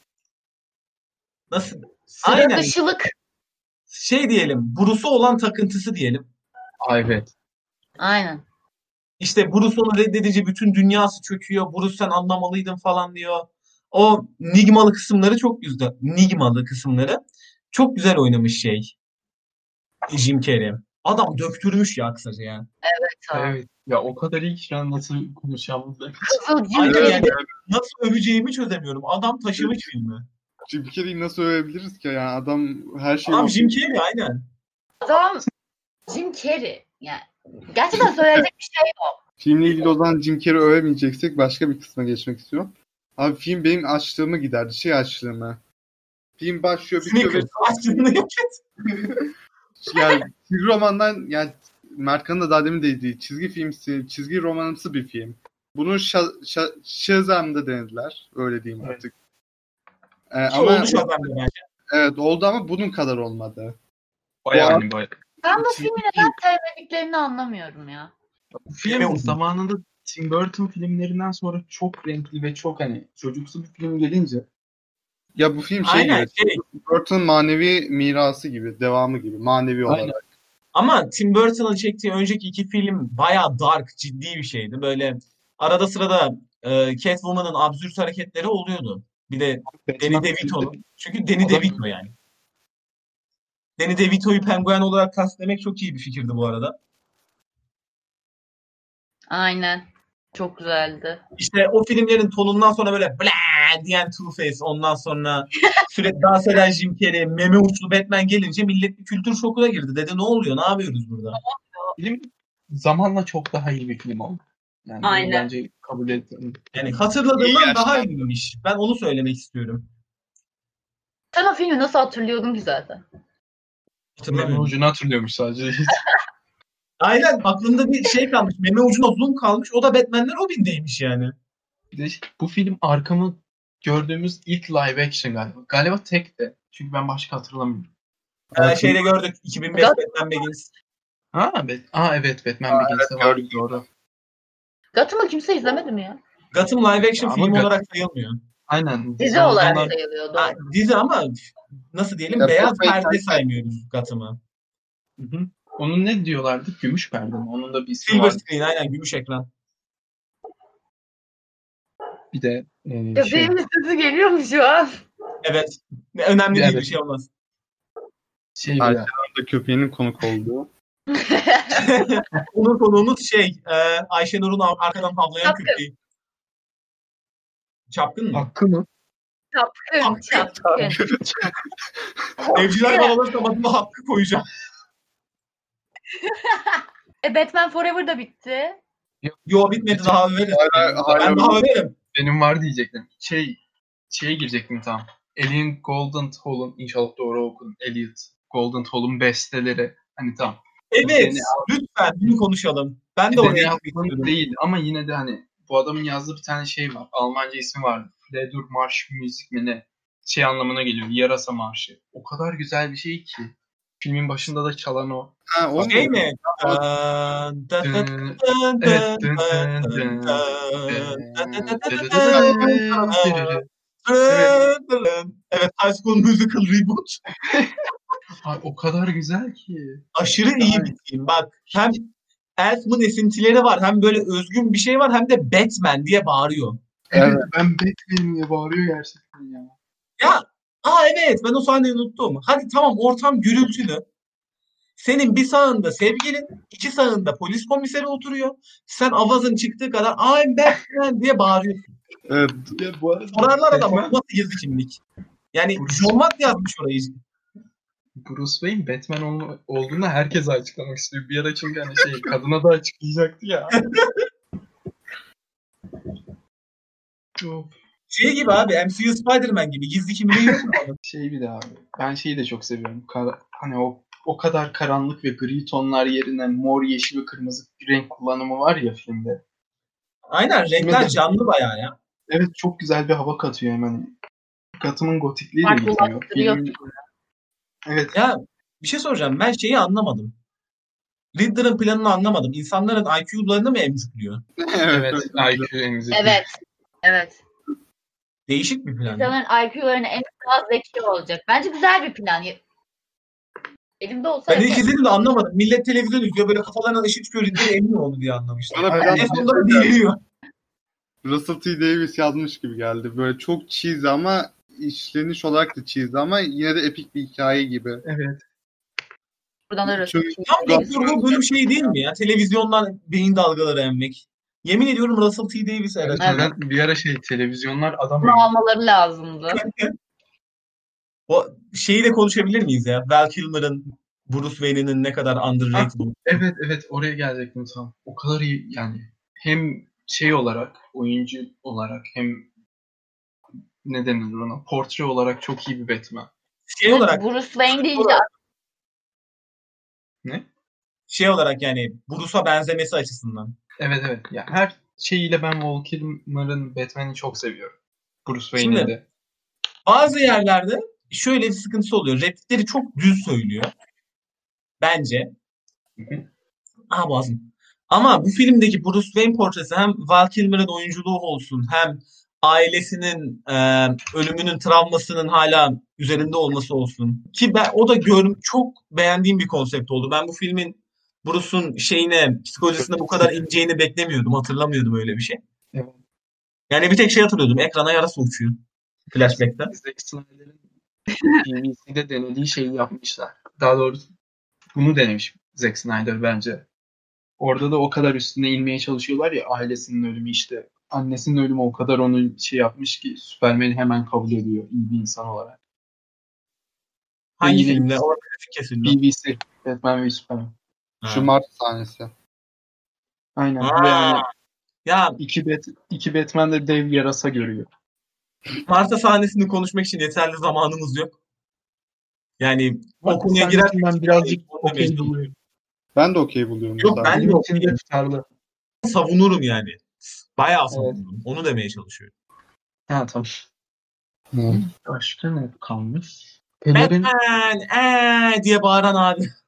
Speaker 1: Nasıl?
Speaker 3: Sınır
Speaker 1: Aynen.
Speaker 3: dışılık.
Speaker 1: Şey diyelim. Bruce'u olan takıntısı diyelim.
Speaker 2: Aa, evet.
Speaker 3: Aynen.
Speaker 1: İşte Bruce onu reddedince bütün dünyası çöküyor. Bruce sen anlamalıydın falan diyor. O Nigmalı kısımları çok güzel. Nigmalı kısımları çok güzel oynamış şey. Jim Carrey. Adam döktürmüş ya kısaca yani.
Speaker 3: Tamam.
Speaker 2: Evet. Ya o kadar iyi ki şu an nasıl konuşacağımızı.
Speaker 3: Kızılcım
Speaker 1: Aynen
Speaker 3: deliği.
Speaker 1: yani. Nasıl öveceğimi çözemiyorum. Adam taşımış filmi.
Speaker 4: Jim Carrey'i nasıl övebiliriz ki? Yani adam her şeyi
Speaker 1: Adam Jim Carrey aynen.
Speaker 3: Adam Jim Carrey. Yani gerçekten söyleyecek bir şey yok.
Speaker 4: Filmle ilgili o zaman Jim Carrey övemeyeceksek başka bir kısma geçmek istiyorum. Abi film benim açlığımı giderdi. Şey açlığımı. Film başlıyor bir
Speaker 1: Snickers. Aslında yok.
Speaker 4: yani çizgi romandan yani Mertkan'ın da daha demin dediği çizgi filmsi, çizgi romanımsı bir film. Bunu Şa- Şa- Shazam'da denediler. Öyle diyeyim
Speaker 2: Evet.
Speaker 4: artık. Ee, ama
Speaker 1: şey Olmuş adam bence.
Speaker 4: evet oldu ama bunun kadar olmadı.
Speaker 2: Bayağı hani bayağı.
Speaker 3: Ben bu filmi neden sevmediklerini anlamıyorum ya.
Speaker 2: Bu
Speaker 1: Yemeği
Speaker 2: film zamanında Tim Burton filmlerinden sonra çok renkli ve çok hani çocuksu bir film gelince
Speaker 4: Ya bu film şey
Speaker 1: Aynen
Speaker 4: gibi,
Speaker 1: şey.
Speaker 4: Burton manevi mirası gibi, devamı gibi, manevi olarak.
Speaker 5: Aynen.
Speaker 1: Ama Tim Burton'ın çektiği önceki iki film bayağı dark, ciddi bir şeydi. Böyle arada sırada e, Catwoman'ın absürt hareketleri oluyordu. Bir de Danny DeVito'nun. Çünkü Danny
Speaker 2: Adam-
Speaker 1: DeVito yani. Danny DeVito'yu penguen olarak kastlemek çok iyi bir fikirdi bu arada.
Speaker 3: Aynen. Çok güzeldi.
Speaker 1: İşte o filmlerin tonundan sonra böyle bla diyen Two-Face ondan sonra sürekli dans eden Jim Carrey, meme uçlu Batman gelince millet bir kültür şokuna girdi. Dedi ne oluyor, ne yapıyoruz burada?
Speaker 2: film zamanla çok daha iyi bir film oldu. Yani bunu
Speaker 3: Aynen.
Speaker 2: bence kabul ettim.
Speaker 1: Yani hatırladığımdan
Speaker 4: İyi
Speaker 1: daha iyiymiş. Ben onu söylemek istiyorum.
Speaker 3: Sen o filmi nasıl hatırlıyordun ki zaten?
Speaker 2: Meme
Speaker 1: Hatırlamıyorum.
Speaker 2: ucunu hatırlıyormuş sadece.
Speaker 1: Aynen aklımda bir şey kalmış. Meme ucuna zoom kalmış. O da Batman'le Robin'deymiş yani.
Speaker 2: Bir de şey, bu film arkamı gördüğümüz ilk live action galiba. Galiba tek de. Çünkü ben başka hatırlamıyorum.
Speaker 1: Ee, şeyde gördük 2005 Batman Begins.
Speaker 2: Ha, bet Aa evet Batman Begins'te var. Doğru.
Speaker 3: Gotham'ı kimse izlemedi mi ya?
Speaker 1: Gotham live action
Speaker 2: Ama
Speaker 1: film
Speaker 2: Gotham-
Speaker 1: olarak sayılmıyor.
Speaker 2: Aynen.
Speaker 3: Dizi
Speaker 2: Sonra
Speaker 3: olarak
Speaker 2: onlar-
Speaker 3: sayılıyor.
Speaker 1: Ha,
Speaker 3: doğru.
Speaker 1: dizi ama nasıl diyelim
Speaker 4: Ya,
Speaker 1: beyaz
Speaker 4: Batman-
Speaker 1: perde saymıyoruz Gotham'ı.
Speaker 2: Hı hı. Onun ne diyorlardı? Gümüş perde mi? Onun da bir ismi
Speaker 1: Silver
Speaker 2: var.
Speaker 1: screen aynen gümüş ekran.
Speaker 2: Bir de e,
Speaker 3: Ya
Speaker 2: şey,
Speaker 3: benim sesi geliyor mu şu an?
Speaker 1: Evet. Ne- Önemli değil bir
Speaker 2: Evet.
Speaker 1: şey olmaz.
Speaker 2: şey bir
Speaker 4: Aynen.
Speaker 2: de-
Speaker 4: Burada köpeğinin konuk olduğu.
Speaker 1: Onun konuğumuz şey e, Ayşe Nur'un ar- arkadan havlayan
Speaker 3: Çapkın.
Speaker 1: köpeği. Çapkın mı?
Speaker 2: Hakkı mı?
Speaker 3: Çapkın, çapkın.
Speaker 1: Evciler bana olursa adıma hakkı koyacağım.
Speaker 3: E Batman Forever da bitti.
Speaker 1: Yo bitmedi daha verir.
Speaker 4: Hala,
Speaker 1: Ben
Speaker 4: hala
Speaker 1: daha veririm.
Speaker 2: Benim var diyecektim. Şey, şeye girecektim tam. Alien Golden Hall'un inşallah doğru okudum. Elliot Golden Hall'un besteleri. Hani tam.
Speaker 1: Evet.
Speaker 2: Beni
Speaker 1: Lütfen bunu konuşalım. Ben de oraya
Speaker 2: Beni
Speaker 1: gitmek
Speaker 2: aklım
Speaker 1: istiyorum.
Speaker 2: değil ama yine de hani bu adamın yazdığı bir tane şey var. Almanca ismi vardı. Fledur Marş Müzik mi ne? Şey anlamına geliyor. Yarasa Marşı. O kadar güzel bir şey ki. Filmin başında da çalan o.
Speaker 4: ha, o
Speaker 1: Şey
Speaker 4: mu?
Speaker 1: mi? Ee, dın dın dın dın dın
Speaker 2: Dın, evet,
Speaker 1: dın dın
Speaker 2: dın
Speaker 1: dın
Speaker 2: dın dın
Speaker 1: dın dın. Evet High School Musical Reboot.
Speaker 2: Ay, o kadar güzel ki.
Speaker 1: Aşırı iyi bir film. Bak hem Elfman esintileri var hem böyle özgün bir şey var hem de Batman diye bağırıyor.
Speaker 4: Evet.
Speaker 2: Ben Batman'im diye bağırıyor gerçekten ya.
Speaker 1: Aa evet ben o sahneyi unuttum. Hadi tamam ortam gürültülü. Senin bir sağında sevgilin, iki sağında polis komiseri oturuyor. Sen avazın çıktığı kadar I'm Batman diye bağırıyorsun.
Speaker 4: Evet,
Speaker 5: Ya bu arada
Speaker 1: Sorarlar adam
Speaker 2: Batman.
Speaker 1: nasıl gizli kimlik. Yani John Watt yazmış orayı.
Speaker 2: Bruce Wayne Batman ol- olduğunu herkese açıklamak istiyor. Bir ara çünkü hani şey kadına da açıklayacaktı ya. Of.
Speaker 1: Şey gibi abi MCU Spider-Man gibi gizli kimliği yok mu? adamın?
Speaker 5: Şey bir de abi. Ben şeyi de çok seviyorum. Kara- hani o o kadar karanlık ve gri tonlar yerine mor, yeşil ve kırmızı renk kullanımı var ya filmde.
Speaker 1: Aynen renkler canlı bayağı ya.
Speaker 5: Evet çok güzel bir hava katıyor hemen. Katımın gotikliği de gitmiyor.
Speaker 3: Farklılaştırıyor.
Speaker 5: Filmin- Evet
Speaker 1: Ya bir şey soracağım. Ben şeyi anlamadım. Riddler'ın planını anlamadım. İnsanların IQ'larını mı emcikliyor?
Speaker 2: Evet,
Speaker 4: evet.
Speaker 2: IQ emzik.
Speaker 3: Evet. Evet.
Speaker 1: Değişik bir plan. ya.
Speaker 3: İnsanların IQ'larını en daha zeki olacak. Bence güzel bir plan. Elimde olsa
Speaker 1: Ben ilk
Speaker 3: yaparım.
Speaker 1: izledim de anlamadım. Millet televizyon izliyor böyle kafalarına ışık çıkıyor Riddler emin oldu diye anlamıştım.
Speaker 4: Bana
Speaker 1: En
Speaker 4: biraz
Speaker 1: sonunda bu deliriyor.
Speaker 4: Russell T. Davis yazmış gibi geldi. Böyle çok cheesy ama işleniş olarak da cheesy ama yine de epik bir hikaye gibi.
Speaker 2: Evet.
Speaker 3: buradan ararız.
Speaker 4: Çünkü-
Speaker 1: Tam Riddler bu bölüm şey değil mi ya? Televizyondan beyin dalgaları emmek. Yemin ediyorum Russell T. Davis herhalde.
Speaker 3: Evet.
Speaker 2: Neden? Bir ara şey televizyonlar adam
Speaker 3: Bunu almaları lazımdı.
Speaker 1: O şeyi de konuşabilir miyiz ya? Val Kilmer'ın Bruce Wayne'inin ne kadar underrated olduğu.
Speaker 2: Evet evet oraya gelecektim tam. O kadar iyi yani hem şey olarak oyuncu olarak hem ne denir ona portre olarak çok iyi bir Batman.
Speaker 1: Şey olarak
Speaker 3: Bruce Wayne deyince
Speaker 1: olarak-
Speaker 2: Ne?
Speaker 1: şey olarak yani Bruce'a benzemesi açısından.
Speaker 2: Evet evet ya her şeyiyle ben Val Kilmer'ın Batman'i çok seviyorum. Bruce Wayne'in
Speaker 1: Şimdi-
Speaker 2: de.
Speaker 1: Bazı yerlerde şöyle bir sıkıntısı oluyor. Replikleri çok düz söylüyor. Bence.
Speaker 2: Hı hı.
Speaker 1: Aha boğazım. Ama bu filmdeki Bruce Wayne portresi hem Val Kilmer'ın oyunculuğu olsun hem ailesinin e, ölümünün travmasının hala üzerinde olması olsun. Ki ben o da gör, çok beğendiğim bir konsept oldu. Ben bu filmin Bruce'un şeyine, psikolojisine bu kadar ineceğini beklemiyordum. Hatırlamıyordum öyle bir şey.
Speaker 2: Evet.
Speaker 1: Yani bir tek şey hatırlıyordum. Ekrana yarası uçuyor. Flashback'te.
Speaker 2: Zack Snyder'ın DVC'de denediği şeyi yapmışlar. Daha doğrusu bunu denemiş Zack Snyder bence. Orada da o kadar üstüne inmeye çalışıyorlar ya ailesinin ölümü işte. Annesinin ölümü o kadar onu şey yapmış ki Superman'i hemen kabul ediyor iyi bir insan olarak.
Speaker 1: Hangi
Speaker 2: Yine-
Speaker 1: filmde? Orada grafik kesildi.
Speaker 2: BBC, Batman ve Superman.
Speaker 4: Şu Mart sahnesi.
Speaker 2: Aynen.
Speaker 1: Aa.
Speaker 2: Ve yani
Speaker 1: Ya
Speaker 2: iki, Bat iki Batman de dev yarasa görüyor.
Speaker 1: Marta sahnesini konuşmak için yeterli zamanımız yok. Yani o
Speaker 2: Bak,
Speaker 1: konuya
Speaker 2: sen
Speaker 1: girer
Speaker 2: ben birazcık
Speaker 1: Onu da
Speaker 2: okey
Speaker 1: mecbur.
Speaker 2: buluyorum.
Speaker 4: Ben de okey buluyorum.
Speaker 1: Yok,
Speaker 4: zaten.
Speaker 1: ben-
Speaker 2: Benim için de tutarlı.
Speaker 1: savunurum yani. Bayağı savunurum. Onu demeye çalışıyorum.
Speaker 2: Ha tamam.
Speaker 4: Hı.
Speaker 5: Hmm.
Speaker 2: Başka ne kalmış? Pelerin
Speaker 1: Batman ee diye bağıran abi.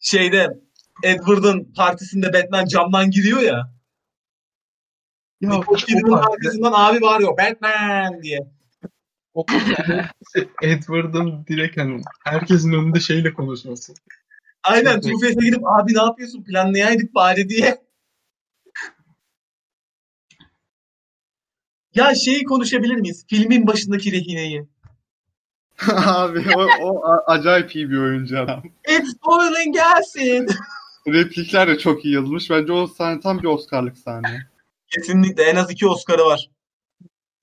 Speaker 1: Şeyde Edward'ın partisinde Batman camdan giriyor ya.
Speaker 2: Ya şey
Speaker 1: Nicole Kidman'ın
Speaker 2: o partide,
Speaker 1: arkasından abi bağırıyor Batman diye.
Speaker 2: o partide Edward'ın direkt hani herkesin önünde şeyle konuşması.
Speaker 1: Aynen
Speaker 2: Çok iyi.
Speaker 1: Two-Face'e gidip abi ne yapıyorsun planlayaydık bari diye. Ya şeyi konuşabilir miyiz? Filmin başındaki rehineyi.
Speaker 4: Abi o, o a- acayip iyi bir oyuncu adam.
Speaker 1: It's boiling acid.
Speaker 4: Replikler de çok iyi yazılmış. Bence o sahne tam bir Oscar'lık sahne.
Speaker 1: Kesinlikle en az iki Oscar'ı var.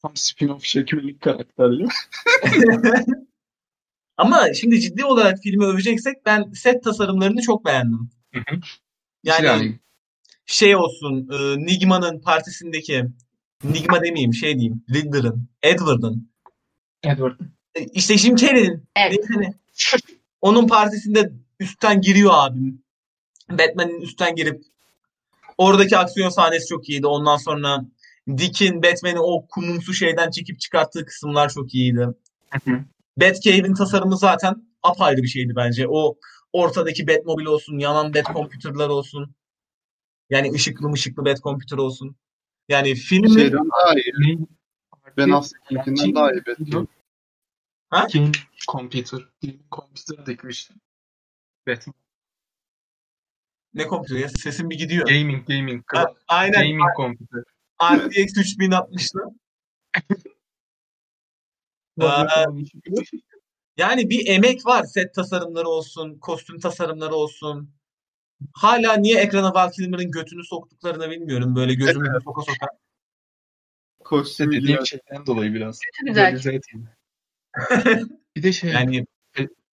Speaker 5: tam spin-off şekillik karakterli.
Speaker 1: Ama şimdi ciddi olarak filmi öveceksek ben set tasarımlarını çok beğendim.
Speaker 2: Hı hı.
Speaker 1: Yani, şey olsun e, Nigma'nın partisindeki Nigma demeyeyim şey diyeyim Riddler'ın, Edward'ın
Speaker 2: Edward.
Speaker 1: E, İşte Jim Carrey'nin.
Speaker 3: Evet.
Speaker 1: neyse ne. hani, Onun partisinde üstten giriyor abim. Batman'in üstten girip oradaki aksiyon sahnesi çok iyiydi. Ondan sonra Dick'in Batman'i o kumumsu şeyden çekip çıkarttığı kısımlar çok iyiydi.
Speaker 2: hı.
Speaker 1: Batcave'in tasarımı zaten apayrı bir şeydi bence. O ortadaki Batmobile olsun, yanan Batcomputer'lar olsun. Yani ışıklı ışıklı Batcomputer olsun. Yani filmin
Speaker 2: Şey
Speaker 4: Şeyden daha iyi.
Speaker 2: Ne?
Speaker 4: Ben
Speaker 2: Artı-
Speaker 4: Affleck'inden daha iyi. Batman.
Speaker 1: Ha?
Speaker 2: Game Computer. Game Computer dikmişti. Batman.
Speaker 1: ne kompütür ya sesim bir gidiyor.
Speaker 2: Gaming, gaming.
Speaker 1: Ha, aynen
Speaker 2: Gaming computer.
Speaker 1: RTX 3060'lı. Aa. şey- Yani bir emek var. Set tasarımları olsun, kostüm tasarımları olsun. Hala niye ekrana Val Kilmer'ın götünü soktuklarını bilmiyorum. Böyle gözümü soka soka.
Speaker 4: Kostümü
Speaker 5: Dediğim
Speaker 4: giyiyor.
Speaker 5: şeyden dolayı biraz.
Speaker 3: Kötü güzel.
Speaker 2: Realize edeyim. bir de şey,
Speaker 1: Yani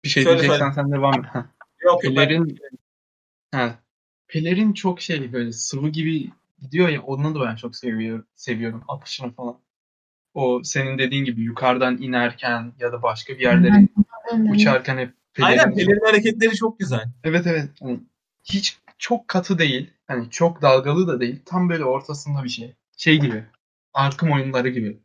Speaker 2: bir şey
Speaker 1: Söyle,
Speaker 2: diyeceksen sen devam et. Ha.
Speaker 1: yok yok. ben-
Speaker 2: Pelerin ha, Pelerin çok şey böyle sıvı gibi gidiyor ya onu da ben çok seviyorum. Seviyorum akışını falan. O senin dediğin gibi yukarıdan inerken ya da başka bir yerlere uçarken hep pelerin-
Speaker 1: Aynen pelerin hareketleri çok güzel.
Speaker 2: Evet evet. Hani hiç çok katı değil. Hani çok dalgalı da değil. Tam böyle ortasında bir şey. Şey gibi. Arkham oyunları gibi.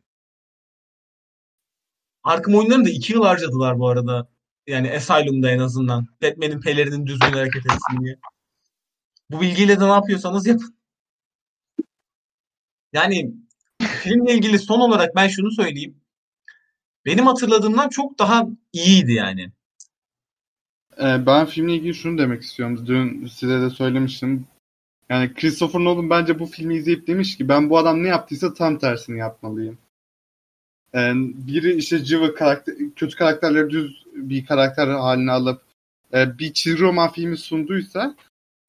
Speaker 1: Arkham oyunlarını da 2 yıl harcadılar bu arada. Yani Asylum'da en azından. Batman'in pelerinin düzgün hareket etsin diye. Bu bilgiyle de ne yapıyorsanız yapın. Yani filmle ilgili son olarak ben şunu söyleyeyim. Benim hatırladığımdan çok daha iyiydi yani.
Speaker 4: Ee, ben filmle ilgili şunu demek istiyorum. Dün size de söylemiştim. Yani Christopher Nolan bence bu filmi izleyip demiş ki ben bu adam ne yaptıysa tam tersini yapmalıyım. Ee, biri işte cıvı karakter, kötü karakterleri düz bir karakter haline alıp e, bir çizgi roman filmi sunduysa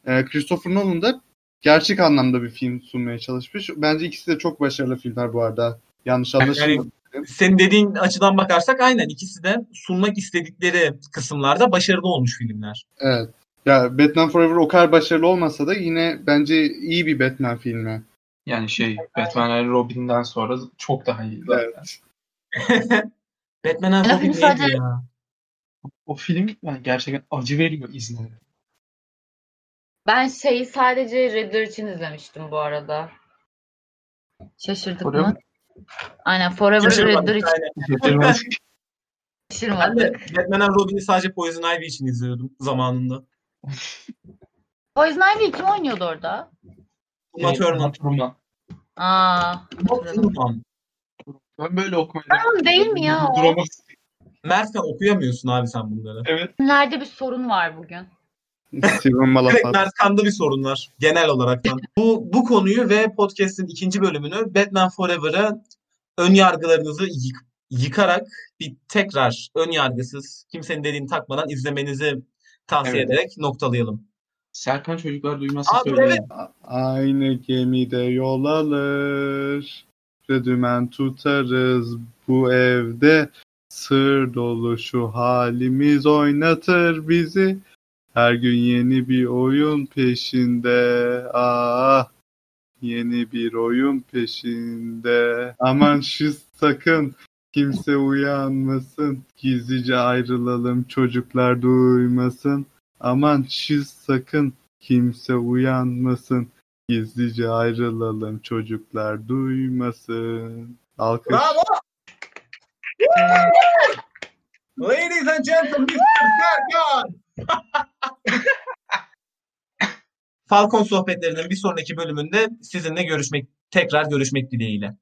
Speaker 4: e, Christopher Nolan da gerçek anlamda bir film sunmaya çalışmış. Bence ikisi de çok başarılı filmler bu arada. Yanlış anlaşılmasın.
Speaker 1: Senin dediğin açıdan bakarsak aynen ikisi de sunmak istedikleri kısımlarda başarılı olmuş filmler.
Speaker 4: Evet. Ya Batman Forever o kadar başarılı olmasa da yine bence iyi bir Batman filmi.
Speaker 2: Yani şey Batman and Robin'den sonra çok daha iyi. zaten.
Speaker 4: Evet.
Speaker 1: Batman and
Speaker 3: Ya
Speaker 1: Robin
Speaker 3: film sadece-
Speaker 1: neydi ya?
Speaker 2: O film yani gerçekten acı veriyor izlere.
Speaker 3: Ben şeyi sadece Riddler için izlemiştim bu arada. Şaşırdık
Speaker 2: Forever-
Speaker 3: mı? Aynen Forever
Speaker 1: Şaşırmadık,
Speaker 3: Riddler için
Speaker 1: aynen. Ben de
Speaker 3: şaşırmadık.
Speaker 1: Batman and Robin'i sadece Poison Ivy için izliyordum zamanında.
Speaker 3: Poison Ivy kim oynuyordu orada?
Speaker 1: Uma Thurman.
Speaker 2: Turma.
Speaker 3: Aa.
Speaker 1: Uma Thurman.
Speaker 2: Ben böyle okumaya
Speaker 3: Tamam değil mi ya o?
Speaker 2: Duramaz.
Speaker 1: Mert'e okuyamıyorsun abi sen bunları.
Speaker 2: Evet.
Speaker 3: Nerede bir sorun var bugün?
Speaker 4: Steven
Speaker 1: Direkt
Speaker 4: Malafat.
Speaker 1: Mertkan'da bir sorun var genel olaraktan. Bu, bu konuyu ve podcast'in ikinci bölümünü Batman Forever'a ön yargılarınızı yık- yıkarak bir tekrar ön yargısız kimsenin dediğini takmadan izlemenizi tavsiye
Speaker 2: Evet.
Speaker 1: ederek noktalayalım.
Speaker 2: Serkan çocuklar duymasın
Speaker 1: Aa,
Speaker 2: söyleyin.
Speaker 1: evet.
Speaker 4: Aynı gemide yol alır. Ve dümen tutarız bu evde. Sır dolu şu halimiz oynatır bizi. Her gün yeni bir oyun peşinde. Ah yeni bir oyun peşinde. Aman şu sakın kimse uyanmasın. Gizlice ayrılalım çocuklar duymasın. Aman şu sakın kimse uyanmasın. Gizlice ayrılalım çocuklar duymasın. Alkış.
Speaker 1: Bravo! Ladies and gentlemen, Mr. Serkan! Falcon sohbetlerinin bir sonraki bölümünde sizinle görüşmek, tekrar görüşmek dileğiyle.